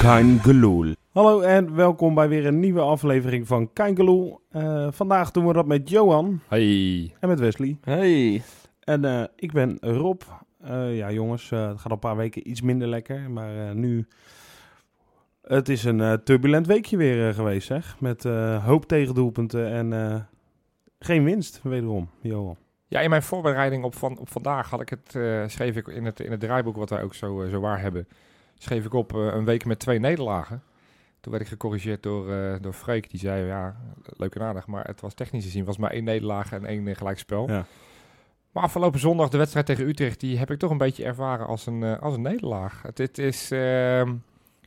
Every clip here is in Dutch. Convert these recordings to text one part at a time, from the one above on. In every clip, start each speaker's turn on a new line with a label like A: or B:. A: Kein Geloel.
B: Hallo en welkom bij weer een nieuwe aflevering van Kijkeloel. Eh vandaag doen we dat met Johan
C: Hey.
B: en met Wesley.
D: Hey.
B: En eh, ik ben Rob. Eh, ja jongens, eh, het gaat al een paar weken iets minder lekker, maar eh, nu... Het is een eh, turbulent weekje weer eh, geweest zeg, met eh, hoop tegendoelpunten en eh, geen winst wederom, Johan.
C: Ja, in mijn voorbereiding op, van, op vandaag had ik het, eh, schreef ik in het, in het draaiboek wat wij ook zo, eh, zo waar hebben, schreef ik op eh, een week met twee nederlagen. Toen werd ik gecorrigeerd door, eh door Freek, die zei, ja, leuk en aardig, maar het was technisch gezien, was maar één nederlaag en één eh, gelijkspel.
B: Ja.
C: Maar afgelopen zondag, de wedstrijd tegen Utrecht, die heb ik toch een beetje ervaren als een, eh, als een nederlaag. Het, het is, ehm,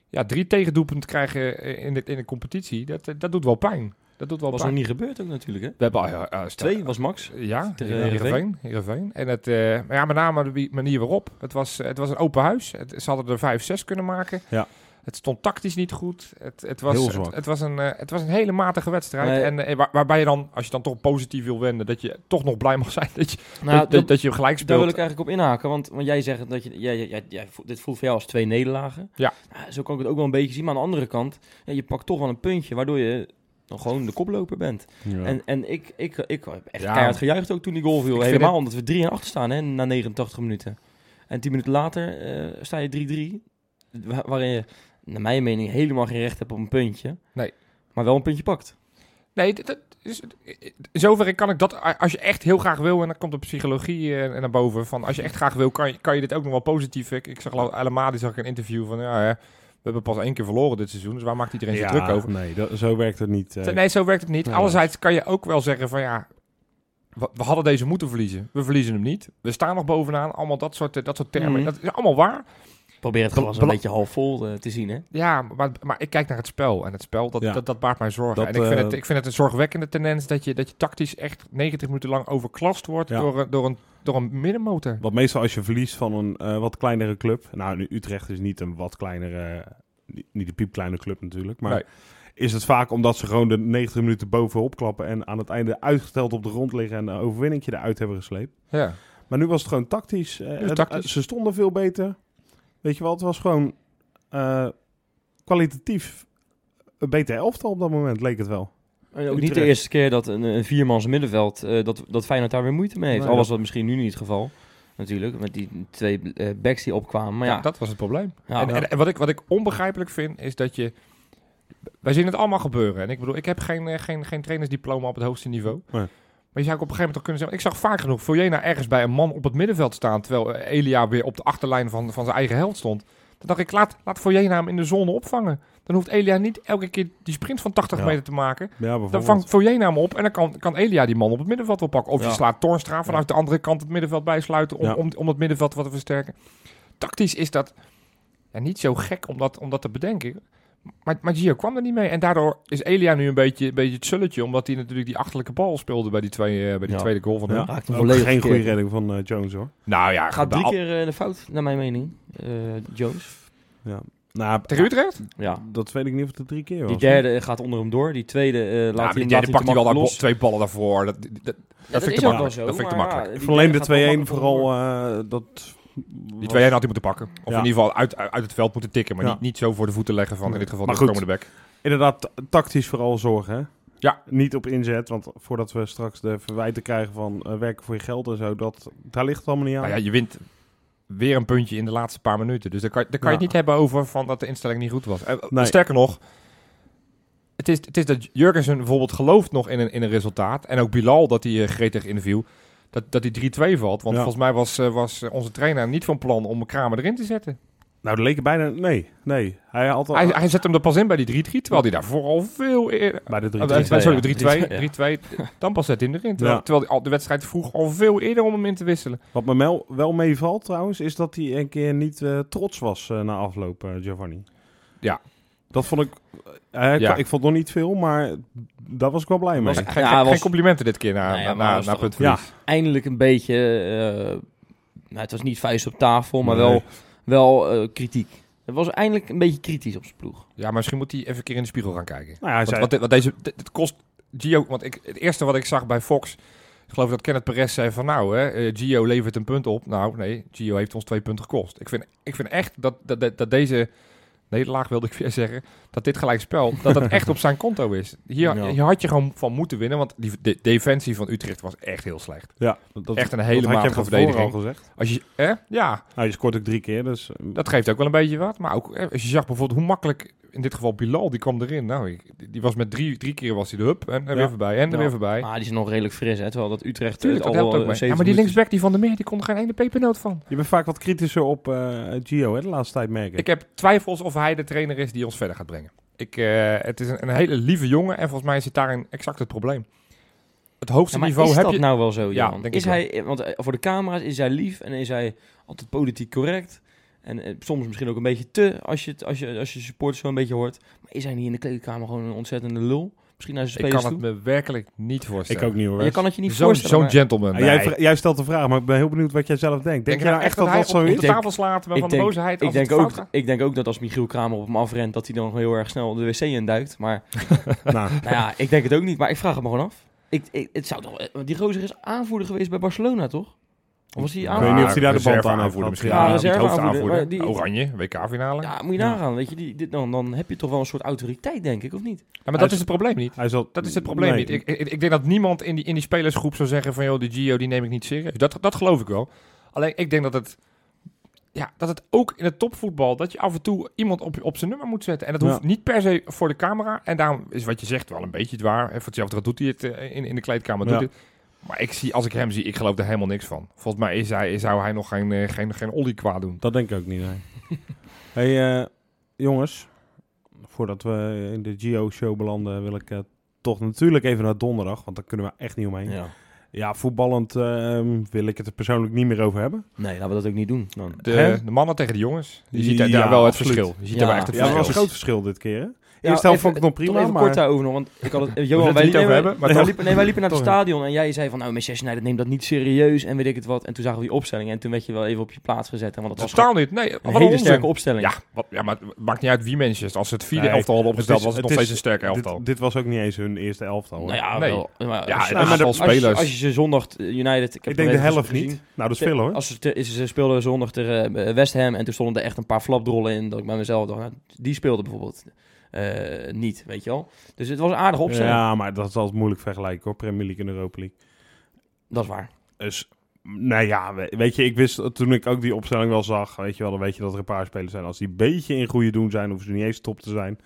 C: ja, drie tegendoelpunten krijgen eh, in de, in de competitie, dat, eh, dat doet wel pijn. Dat doet wel
D: was nog
C: pijn.
D: niet gebeurd ook natuurlijk, hè?
C: We hebben al eh, eh, stel-
D: Twee was Max. eh,
C: ja,
D: Tegen
C: Heerenveen. Heerenveen. En het, eh, maar ja, met name de wie- manier waarop. Het was, het was een open huis. Het, ze hadden er 5-6 kunnen maken.
B: Ja.
C: Het stond tactisch niet goed. Het, het, was,
B: Heel zwak.
C: Het, het was een, eh, het was een hele matige wedstrijd.
D: Nee.
C: En eh, waar- waarbij je dan, als je dan toch positief wil wenden, dat je toch nog blij mag zijn dat je,
D: Nou,
C: dat, dat, dat je gelijk
D: daar wil ik
C: speelt.
D: eigenlijk op inhaken, want, want jij zegt dat je, jij, jij, jij- jij vo- dit voelt voor jou als twee nederlagen.
C: Ja.
D: Nou, zo kan ik het ook wel een beetje zien, maar aan de andere kant, ja, je pakt toch wel een puntje, waardoor je dan gewoon de koploper bent. En, en ik, ik, ik heb echt
C: Ja.
D: keihard gejuicht ook toen die goal viel,
C: vind
D: helemaal
C: het-
D: omdat we 3 en 8 staan hè, na 89 minuten. En 10 minuten later eh, sta je 3-3, wa- waarin je, naar mijn mening, helemaal geen recht hebt op een puntje.
C: Nee.
D: Maar wel een puntje pakt.
C: Nee, dat, dat is, in zoverre kan ik dat, als je echt heel graag wil, en dan komt de psychologie eh, naar boven, van als je echt graag wil, kan je, kan je dit ook nog wel positief. Ik, ik zag helemaal, die zag ik een interview van, ja, hè, we hebben pas één keer verloren dit seizoen, dus waar maakt iedereen zich druk over?
B: nee, dat, zo werkt het niet. eh.
C: Nee, zo werkt het niet.
B: Nee,
C: Anderzijds kan je ook wel zeggen van, ja, we, we hadden deze moeten verliezen. We verliezen hem niet. We staan nog bovenaan. Allemaal dat soort, eh, dat soort termen.
D: Mhm.
C: Dat is allemaal waar.
D: Probeer het glas een
C: Bela-
D: beetje half vol eh, te zien, hè?
C: Ja, maar, maar ik kijk naar het spel. En het spel, dat,
B: Ja.
C: dat, dat baart mij zorgen.
B: Dat,
C: en ik vind,
B: eh,
C: het, ik vind het een zorgwekkende tendens dat je, dat je tactisch echt 90 minuten lang overklast wordt
B: Ja.
C: door, een- door, een, door een middenmotor.
B: Wat meestal als je verliest van een eh, wat kleinere club. Nou, nu Utrecht is niet een wat kleinere. Niet, niet een piepkleine club natuurlijk. Maar
C: Nee.
B: is het vaak omdat ze gewoon de 90 minuten bovenop klappen. En aan het einde uitgeteld op de grond liggen. En een overwinningje eruit hebben gesleept.
C: Ja.
B: Maar nu was het gewoon tactisch. Eh, het-
C: tactisch.
B: ze stonden veel beter. Weet je wel, het was gewoon eh, kwalitatief een beter elftal op dat moment, leek het wel.
D: En ook niet
B: Utrecht.
D: de eerste keer dat een, een viermans middenveld, eh, dat, dat Feyenoord daar weer moeite mee heeft.
B: Nee,
D: Al was dat misschien nu niet het geval, natuurlijk, met die twee eh, backs die opkwamen. Maar ja,
C: Ja, dat was het probleem.
D: Ja.
C: en en, en wat, ik, wat ik onbegrijpelijk vind, is dat je... Wij zien het allemaal gebeuren. En ik bedoel, ik heb geen, eh, geen, geen trainersdiploma op het hoogste niveau.
B: Nee.
C: Maar je zou ook op een gegeven moment toch kunnen zeggen... Ik zag vaak genoeg Voljena ergens bij een man op het middenveld staan... terwijl eh, Elia weer op de achterlijn van, van zijn eigen held stond. Dan dacht ik, laat, laat Voljena hem in de zone opvangen. Dan hoeft Elia niet elke keer die sprint van 80
B: Ja.
C: meter te maken.
B: Ja,
C: Dan
B: bijvoorbeeld.
C: vangt Voljena hem op en dan kan, kan Elia die man op het middenveld wel pakken. Of
D: Ja.
C: je slaat Toornstra vanuit de andere kant het middenveld bijsluiten om,
B: Ja.
C: om, om dat middenveld wat te versterken. Tactisch is dat ja, niet zo gek om dat, om dat te bedenken. Maar, maar Gio kwam er niet mee. En daardoor is Elia nu een beetje, een beetje het sulletje. Omdat hij natuurlijk die achterlijke bal speelde bij die, twee, eh, bij die
D: Ja.
C: tweede goal van hem.
B: Ja.
D: raakt hem
B: Ook
D: volledig
B: geen goede
D: verkeerd.
B: redding van eh, Jones hoor.
C: Nou ja,
D: gaat drie
C: al-
D: keer eh, de fout, naar mijn mening, eh, Jones.
B: Nou,
C: Tegen Utrecht?
D: Ja,
B: dat weet ik niet of het drie keer was.
D: Ah. die derde eh, gaat onder hem door, die tweede eh,
C: Ja,
D: laat
C: maar
D: hij
C: die
D: hem
C: derde pakt hij wel daar
D: wel
C: bo-
D: los.
C: twee ballen daarvoor. Dat, dat, dat,
D: Ja, dat
C: vind ik
D: is
C: te
D: ook wel
C: makkelijk.
D: zo,
C: dat vind ik te
D: maar
C: makkelijk.
D: ja, die
B: Alleen
D: derde
B: de
D: gaat wel
B: 2-1
D: makkelijk onderdoor.
B: vooral, eh, dat...
C: Die
B: was-
C: tweeën had hij moeten pakken. Of
B: Ja.
C: in ieder geval uit, uit, uit het veld moeten tikken. Maar
B: Ja.
C: niet, niet zo voor de voeten leggen van in dit geval
B: Maar
C: de
B: goed.
C: komende bek.
B: Inderdaad, ta- tactisch vooral zorgen. Hè?
C: Ja.
B: Niet op inzet, want voordat we straks de verwijten krijgen van eh, werken voor je geld en zo, dat, daar ligt het allemaal niet aan.
C: Nou ja, je wint weer een puntje in de laatste paar minuten. Dus daar kan, daar kan je
B: Ja.
C: het niet hebben over van dat de instelling niet goed was. Eh,
B: Nee.
C: Sterker nog, het is, het is dat Jurgensen bijvoorbeeld gelooft nog in een, in een resultaat. En ook Bilal, dat hij eh, gretig interview, dat, dat hij 3-2 valt. Want
B: Ja.
C: volgens mij was, eh, was eh, onze trainer niet van plan om Kramer erin te zetten.
B: Nou, dat leek het bijna... Nee, nee. Hij had al... Ah,
C: Hij, hij zet hem er pas in bij die 3-3, terwijl hij daarvoor al veel eerder...
B: bij de drie
C: Oh,
B: twee.
C: eh, sorry, 3-2.
D: 3-2, ja.
C: 3-2. Dan pas zet hij hem erin. Terwijl,
B: Ja.
C: terwijl hij al de wedstrijd vroeg al veel eerder om hem in te wisselen.
B: Wat me wel, wel meevalt trouwens, is dat hij een keer niet eh, trots was eh, na afloop, eh, Giovanni.
C: Ja.
B: Dat vond ik... eh, ik-
C: Ja.
B: Ik vond nog niet veel, maar daar was ik wel blij mee.
C: Geen,
D: Ja,
C: geen-
D: was-
C: geen complimenten dit keer na,
D: Nee,
C: na,
D: maar
C: na,
D: was
C: na
D: toch-
C: puntverlies.
D: Eindelijk een beetje, eh, nou, het was niet vuist op tafel, maar
B: Nee.
D: wel, wel eh, kritiek. Het was eindelijk een beetje kritisch op zijn ploeg.
C: Ja, maar misschien moet hij even een keer in de spiegel gaan kijken.
B: Nou ja, hij
C: Want,
B: zei...
C: want dit- want deze, dit, dit kost Gio... Want ik, het eerste wat ik zag bij Fox... Ik geloof dat Kenneth Perez zei van... Nou, hè, eh, Gio levert een punt op. Nou, nee. Gio heeft ons twee punten gekost. Ik vind, ik vind echt dat, dat, dat, dat deze nederlaag wilde ik weer zeggen, dat dit gelijkspel, dat dat echt op zijn konto is. Hier,
B: Ja.
C: hier had je gewoon van moeten winnen, want die de defensie van Utrecht was echt heel slecht.
B: Ja, dat,
C: echt een
B: dat
C: hele
B: had je
C: matige
B: van tevoren al
C: verdediging.
B: gezegd.
C: Als je, hè? Ja,
B: Nou, je scoort ook drie keer, dus... eh,
C: dat geeft ook wel een beetje wat. Maar ook eh, als je zag bijvoorbeeld hoe makkelijk, in dit geval Bilal, die kwam erin. Nou, ik- die- die was met drie, drie keer was hij de hup en er
B: Ja.
C: weer voorbij en er
B: Ja.
C: weer voorbij.
D: Maar die is nog redelijk fris, hè? Terwijl dat Utrecht
C: Tuurlijk, dat
D: het
C: helpt
D: al eh,
C: ook mee. Ja, maar die linksback die van de meer, die kon er geen ene pepernoot van.
B: Je bent vaak wat kritischer op eh, Gio hè, de laatste tijd, merk ik.
C: Ik heb twijfels of hij de trainer is die ons verder gaat brengen. Ik, eh, het is een, een hele lieve jongen en volgens mij zit daarin exact het probleem. Het hoogste
D: maar
C: niveau
D: is
C: heb
D: dat
C: je...
D: nou wel zo,
C: Ja,
D: Johan?
C: denk
D: is
C: ik wel.
D: hij, want eh, voor de camera's is hij lief en is hij altijd politiek correct. En eh, soms misschien ook een beetje te, als je, het- als je, als je supporters zo een beetje hoort. Maar is hij niet in de kleedkamer gewoon een ontzettende lul? Misschien naar zijn
C: ik
D: spelers
C: kan
D: toe?
C: het me werkelijk niet voorstellen.
B: Ik ook niet hoor.
D: Ja, Je kan het je niet
C: Zo'n
D: voorstellen.
C: zo'n
D: maar
C: gentleman.
B: Ah,
C: Nee.
B: jij, vra- jij stelt de vraag, maar ik ben heel benieuwd wat jij zelf denkt. Denk,
C: Denk
B: je nou echt dat dat zo
C: hij
B: is?
C: op de
D: Ik
C: tafel slaat van
D: ik
C: de
D: denk-
C: boosheid?
D: ik,
C: als het
D: denk ook,
C: fout gaat?
D: ik denk ook dat als Michiel Kramer op hem afrent, dat hij dan heel erg snel de wc induikt. Maar
B: nou,
D: nou ja, ik denk het ook niet. Maar ik vraag het me gewoon af. Ik, ik, het zou toch, eh, want die gozer is aanvoerder geweest bij Barcelona, toch? Of was hij
C: Maar
B: weet niet
D: aanvoerder?
B: of hij daar de band aan heeft
C: reserveaanvoerder
B: gehad.
C: misschien.
B: Ja,
C: Ja, niet
D: reserveaanvoerder,
C: hoofdaanvoerder.
D: maar die-
C: Oranje, WK-finale. Ja,
D: Ja, moet je nagaan. Weet je, die, dit, dan, dan heb je toch wel een soort autoriteit, denk ik, of niet?
C: maar dat is het probleem niet.
B: hij zal,
C: Dat is het probleem
B: Nee.
C: niet. Ik, ik, ik denk dat niemand in die, in die spelersgroep zou zeggen van... joh, die Gio die neem ik niet serieus. Dat, dat geloof ik wel. Alleen ik denk dat het... Ja, dat het ook in het topvoetbal... dat je af en toe iemand op, op zijn nummer moet zetten. En dat hoeft
B: Ja.
C: niet per se voor de camera. En daarom is wat je zegt wel een beetje het waar. En voor hetzelfde geld doet hij het eh, in, in de kleedkamer. Doet
B: Ja.
C: hij het. Maar ik zie, als ik hem zie, ik geloof er helemaal niks van. Volgens mij is hij, zou hij nog geen, eh, geen, geen ollie kwaad doen.
B: Dat denk ik ook niet, nee. hey, eh, jongens. Voordat we in de Geo-show belanden, wil ik eh, toch natuurlijk even naar donderdag. Want daar kunnen we echt niet omheen. Ja, voetballend ehm, wil ik het er persoonlijk niet meer over hebben.
D: Nee, laten we dat ook niet doen. Dan.
C: De,
B: Hè?
C: de mannen tegen de jongens. Je ziet daar
B: Ja,
C: wel het
B: absoluut.
C: verschil. Je ziet
D: Ja.
C: daar wel echt het
B: Ja, dat was een
C: verschil.
B: groot verschil dit keer. hè? Eerste helft vond ik het nog prima,
D: Even
B: maar...
D: kort daarover nog, want ik had het... eh,
C: We
D: Johan,
C: gaan
D: wij,
C: het niet
D: liepen-
C: over hebben, maar
D: wij
C: toch.
D: liepen, nee, wij liepen naar het
C: Toch.
D: stadion en jij zei van... Nou, Manchester United neemt dat niet serieus en weet ik het wat. En toen zagen we die opstelling en toen werd je wel even op je plaats gezet. hè, Want dat was gewoon
C: Totaal niet. Nee, wat
D: een
C: een
D: hele
C: onzin.
D: sterke opstelling.
C: Ja, wat, ja, maar het maakt niet uit wie Manchester. Als ze het vierde
B: Nee,
C: elftal hadden opgesteld,
B: is-
C: was het nog
B: het is-
C: steeds een sterk elftal.
B: Dit, dit was ook niet eens hun eerste elftal. hoor.
D: Nou ja,
C: Nee.
D: wel. Maar
C: Ja,
D: als-
C: het
D: als-
B: aantal
D: als-
C: spelers.
D: Als je ze zondag eh, United... heb
B: ik
D: het
B: denk de
D: even
B: helft
D: gezien.
B: niet. Nou, dat is veel hoor.
D: Als ze, te- ze speelden zondag tegen eh, West Ham en toen stonden er echt een paar flapdrollen in. Dat ik bij mezelf dacht, nou, die speelde bijvoorbeeld eh, niet, weet je wel. Dus het was een aardige opstelling.
B: Ja, maar dat is altijd moeilijk vergelijken hoor. Premier League en Europa League.
D: Dat is waar.
B: Dus, nou ja, we- weet je, ik wist toen ik ook die opstelling wel zag, weet je wel, dan weet je dat er een paar spelers zijn. Als die een beetje in goede doen zijn, hoeven ze niet eens top te zijn.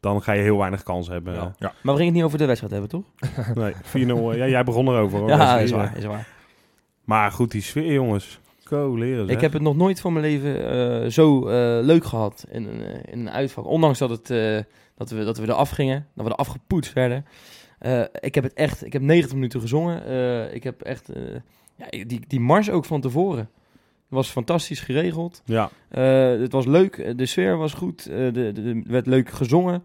B: Dan ga je heel weinig kans hebben.
D: Ja. Maar we gingen het niet over de wedstrijd hebben, toch?
B: Nee, 4-0. Ja, jij begon erover. Hoor.
D: ja,
B: Dat
D: is
B: eh,
D: waar. Is waar.
B: Maar goed, die sfeer, jongens. Ko, leren
D: Ik heb het nog nooit van mijn leven eh, zo eh, leuk gehad in, een, eh, in een uitvak. Ondanks dat, het, eh, dat, we, dat we eraf gingen, dat we eraf gepoetst werden. Eh, ik heb het echt, ik heb 90 minuten gezongen. Eh, ik heb echt, eh, ja, die, die mars ook van tevoren. was fantastisch geregeld.
B: Ja,
D: Eh, het was leuk, eh, de sfeer was goed, eh, de, de, de- werd leuk gezongen.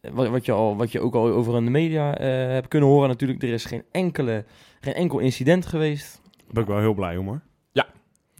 D: Eh, Wat, wat, je al, wat je ook al over in de media eh, hebt kunnen horen natuurlijk, er is geen, enkele, geen enkel incident geweest.
B: daar ben ik wel heel blij om hoor.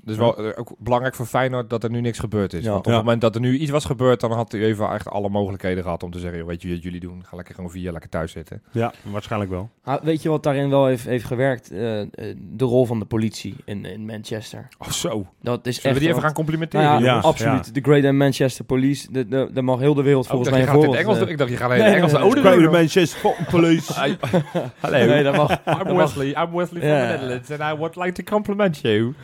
C: Dus wel eh, ook belangrijk voor Feyenoord dat er nu niks gebeurd is.
D: Ja.
C: Want op
B: Ja.
C: het moment dat er nu iets was gebeurd, dan had u even echt alle mogelijkheden gehad om te zeggen, joh, weet je wat jullie doen? Ga lekker gewoon vier, lekker thuis zitten.
B: Ja, waarschijnlijk wel.
D: Ah, weet je wat daarin wel heeft, heeft gewerkt? Eh, eh, de rol van de politie in, in Manchester.
C: Oh zo.
D: Dat is
C: Zullen we die
D: echt...
C: even
D: want-
C: gaan complimenteren?
D: nou ja,
B: Ja,
D: absoluut. De Greater Manchester Police, de- de- daar mag heel de wereld
C: Oh,
D: volgens
C: ik
D: mij
C: dacht,
D: een
C: je gaat het in
D: voorbeeld,
C: Engels
D: eh,
C: doen. Ik dacht, je gaat een
D: Nee,
C: hele
D: nee,
C: Engelse
D: nee,
C: ode
D: nee.
C: doen.
B: Dus
C: Ah,
B: Manchester Police.
C: Hey, Hallo.
D: Nee, dat mag,
C: I'm
D: dat mag-
C: Wesley. I'm Wesley from
D: Ja.
C: the Netherlands and I would like to compliment you.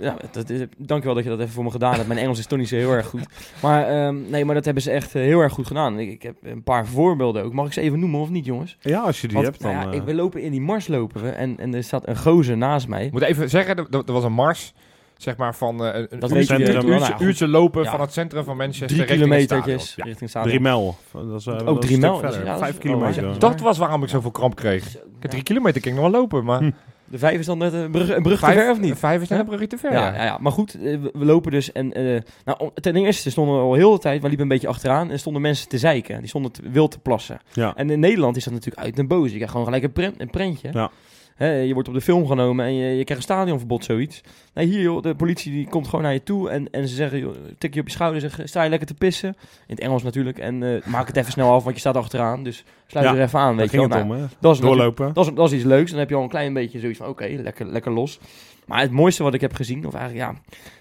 D: Ja, dat is, dankjewel dat je dat even voor me gedaan hebt. Mijn Engels is toch niet zo heel erg goed. Maar, ehm, nee, maar dat hebben ze echt eh, heel erg goed gedaan. Ik, ik heb een paar voorbeelden ook. Mag ik ze even noemen of niet, jongens?
B: Ja, als je die
D: Want,
B: hebt dan.
D: nou ja,
B: eh,
D: ik, we lopen in die mars lopen we en, en er staat een gozer naast mij.
C: Ik moet even zeggen, er, er was een mars, zeg maar, van eh, een,
D: Dat
C: een
D: weet je
C: uurtje,
B: wel,
C: uurtje,
D: nou ja, goed.
C: uurtje lopen
D: Ja.
C: van het centrum van Manchester
D: Drie
C: richting het
D: kilometertjes
C: stadion.
D: richting
B: drie
D: stadion.
B: mijl. Dat is, eh, dat is
D: Ook
B: een
D: Oh, drie
B: stuk
D: mijl,
B: verder.
D: ja, dat is-
B: Vijf
D: oh,
B: kilometer.
D: ja.
C: Dat was waarom ik zoveel kramp kreeg. Ik heb drie kilometer ik ging nog wel lopen, maar...
D: nou. De vijf is dan net een brug, een brug Hm. te ver of niet?
C: Vijf is net
D: Ja.
C: een brugje te ver.
D: Ja,
C: Ja,
D: ja, ja, maar goed, eh, we we lopen dus en eh, nou, om- ten eerste stonden we al heel de tijd, we liepen een beetje achteraan en stonden mensen te zeiken. Die stonden te- wild te plassen.
B: Ja.
D: En in Nederland is dat natuurlijk uit en boos. Je krijgt gewoon gelijk een, prent, een prentje.
B: Ja.
D: Hè, je wordt op de film genomen en je, je krijgt een stadionverbod, zoiets. Nee, hier joh, de politie die komt gewoon naar je toe en, en ze zeggen, joh, tik je op je schouder en zeggen, sta je lekker te pissen? In het Engels natuurlijk. En eh, maak het even snel af, want je staat achteraan. Dus sluit
B: Ja,
D: er even aan,
B: Daar
D: weet je
B: ging
D: wel.
B: het
D: Nou,
B: om, hè?
D: dat is natuurlijk-
B: Doorlopen.
D: dat is, dat is iets leuks. Dan heb je al een klein beetje zoiets van, oké, lekker, lekker los. Maar het mooiste wat ik heb gezien, of eigenlijk ja,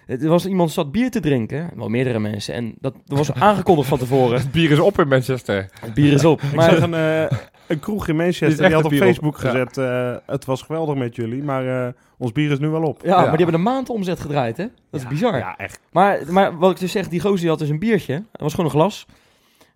D: het was iemand zat bier te drinken, wel meerdere mensen, en dat, dat was aangekondigd van tevoren.
C: Het bier is op in Manchester.
D: Het bier is op.
B: Ik
D: Maar
B: zag een, eh, een kroeg in
C: Dit is
B: Manchester,
C: echt
B: die had op
C: een bier op.
B: Facebook
C: Ja.
B: gezet... eh, het was geweldig met jullie, maar eh, ons bier is nu wel op.
D: Ja,
C: Ja.
D: maar die hebben een maand omzet gedraaid, hè? Dat is bizar.
B: Ja, echt.
D: Maar, maar wat ik dus zeg, die gozer die had dus een biertje. Het was gewoon een glas.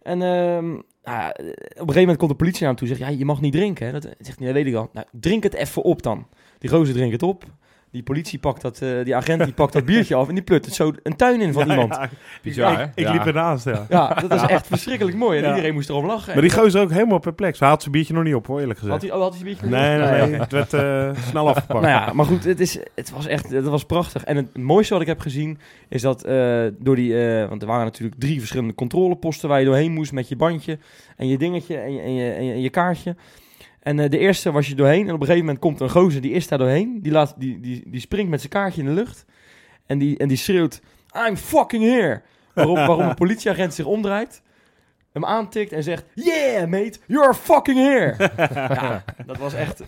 D: En ehm, nou ja, op een gegeven moment komt de politie naar hem toe en zegt... Ja, je mag niet drinken. Hè? Dat eh, zegt hij, dat weet ik al. Nou, drink het even op dan. Die gozer drinkt het op. Die politie pakt dat, eh, die agent die pakt dat biertje af... en die plukt het zo een tuin in van
B: Ja,
D: iemand. Ja,
B: ja,
C: Bizar, hè?
B: ik, ik
C: Ja.
B: liep ernaast, ja.
D: dat was echt verschrikkelijk mooi. En
B: Ja.
D: iedereen moest erom lachen.
B: Maar die gozer ook helemaal perplex. Hij had zijn biertje nog niet op, hoor, eerlijk gezegd.
D: Had hij, oh, had hij zijn biertje?
B: Nee, nee,
D: Ah, ja.
B: nee. Het werd eh, snel afgepakt.
D: Nou ja, maar goed, het, is, het was echt het was prachtig. En het mooiste wat ik heb gezien is dat eh, door die... eh, want er waren natuurlijk drie verschillende controleposten waar je doorheen moest met je bandje en je dingetje en je, en je, en je, en je kaartje. En eh, de eerste was je doorheen en op een gegeven moment komt een gozer, die is daar doorheen. Die, laat, die, die, die springt met zijn kaartje in de lucht en die, en die schreeuwt, I'm fucking here. Waarop, waarom een politieagent zich omdraait. Hem aantikt en zegt: Yeah, mate, you're fucking here. ja, dat was echt.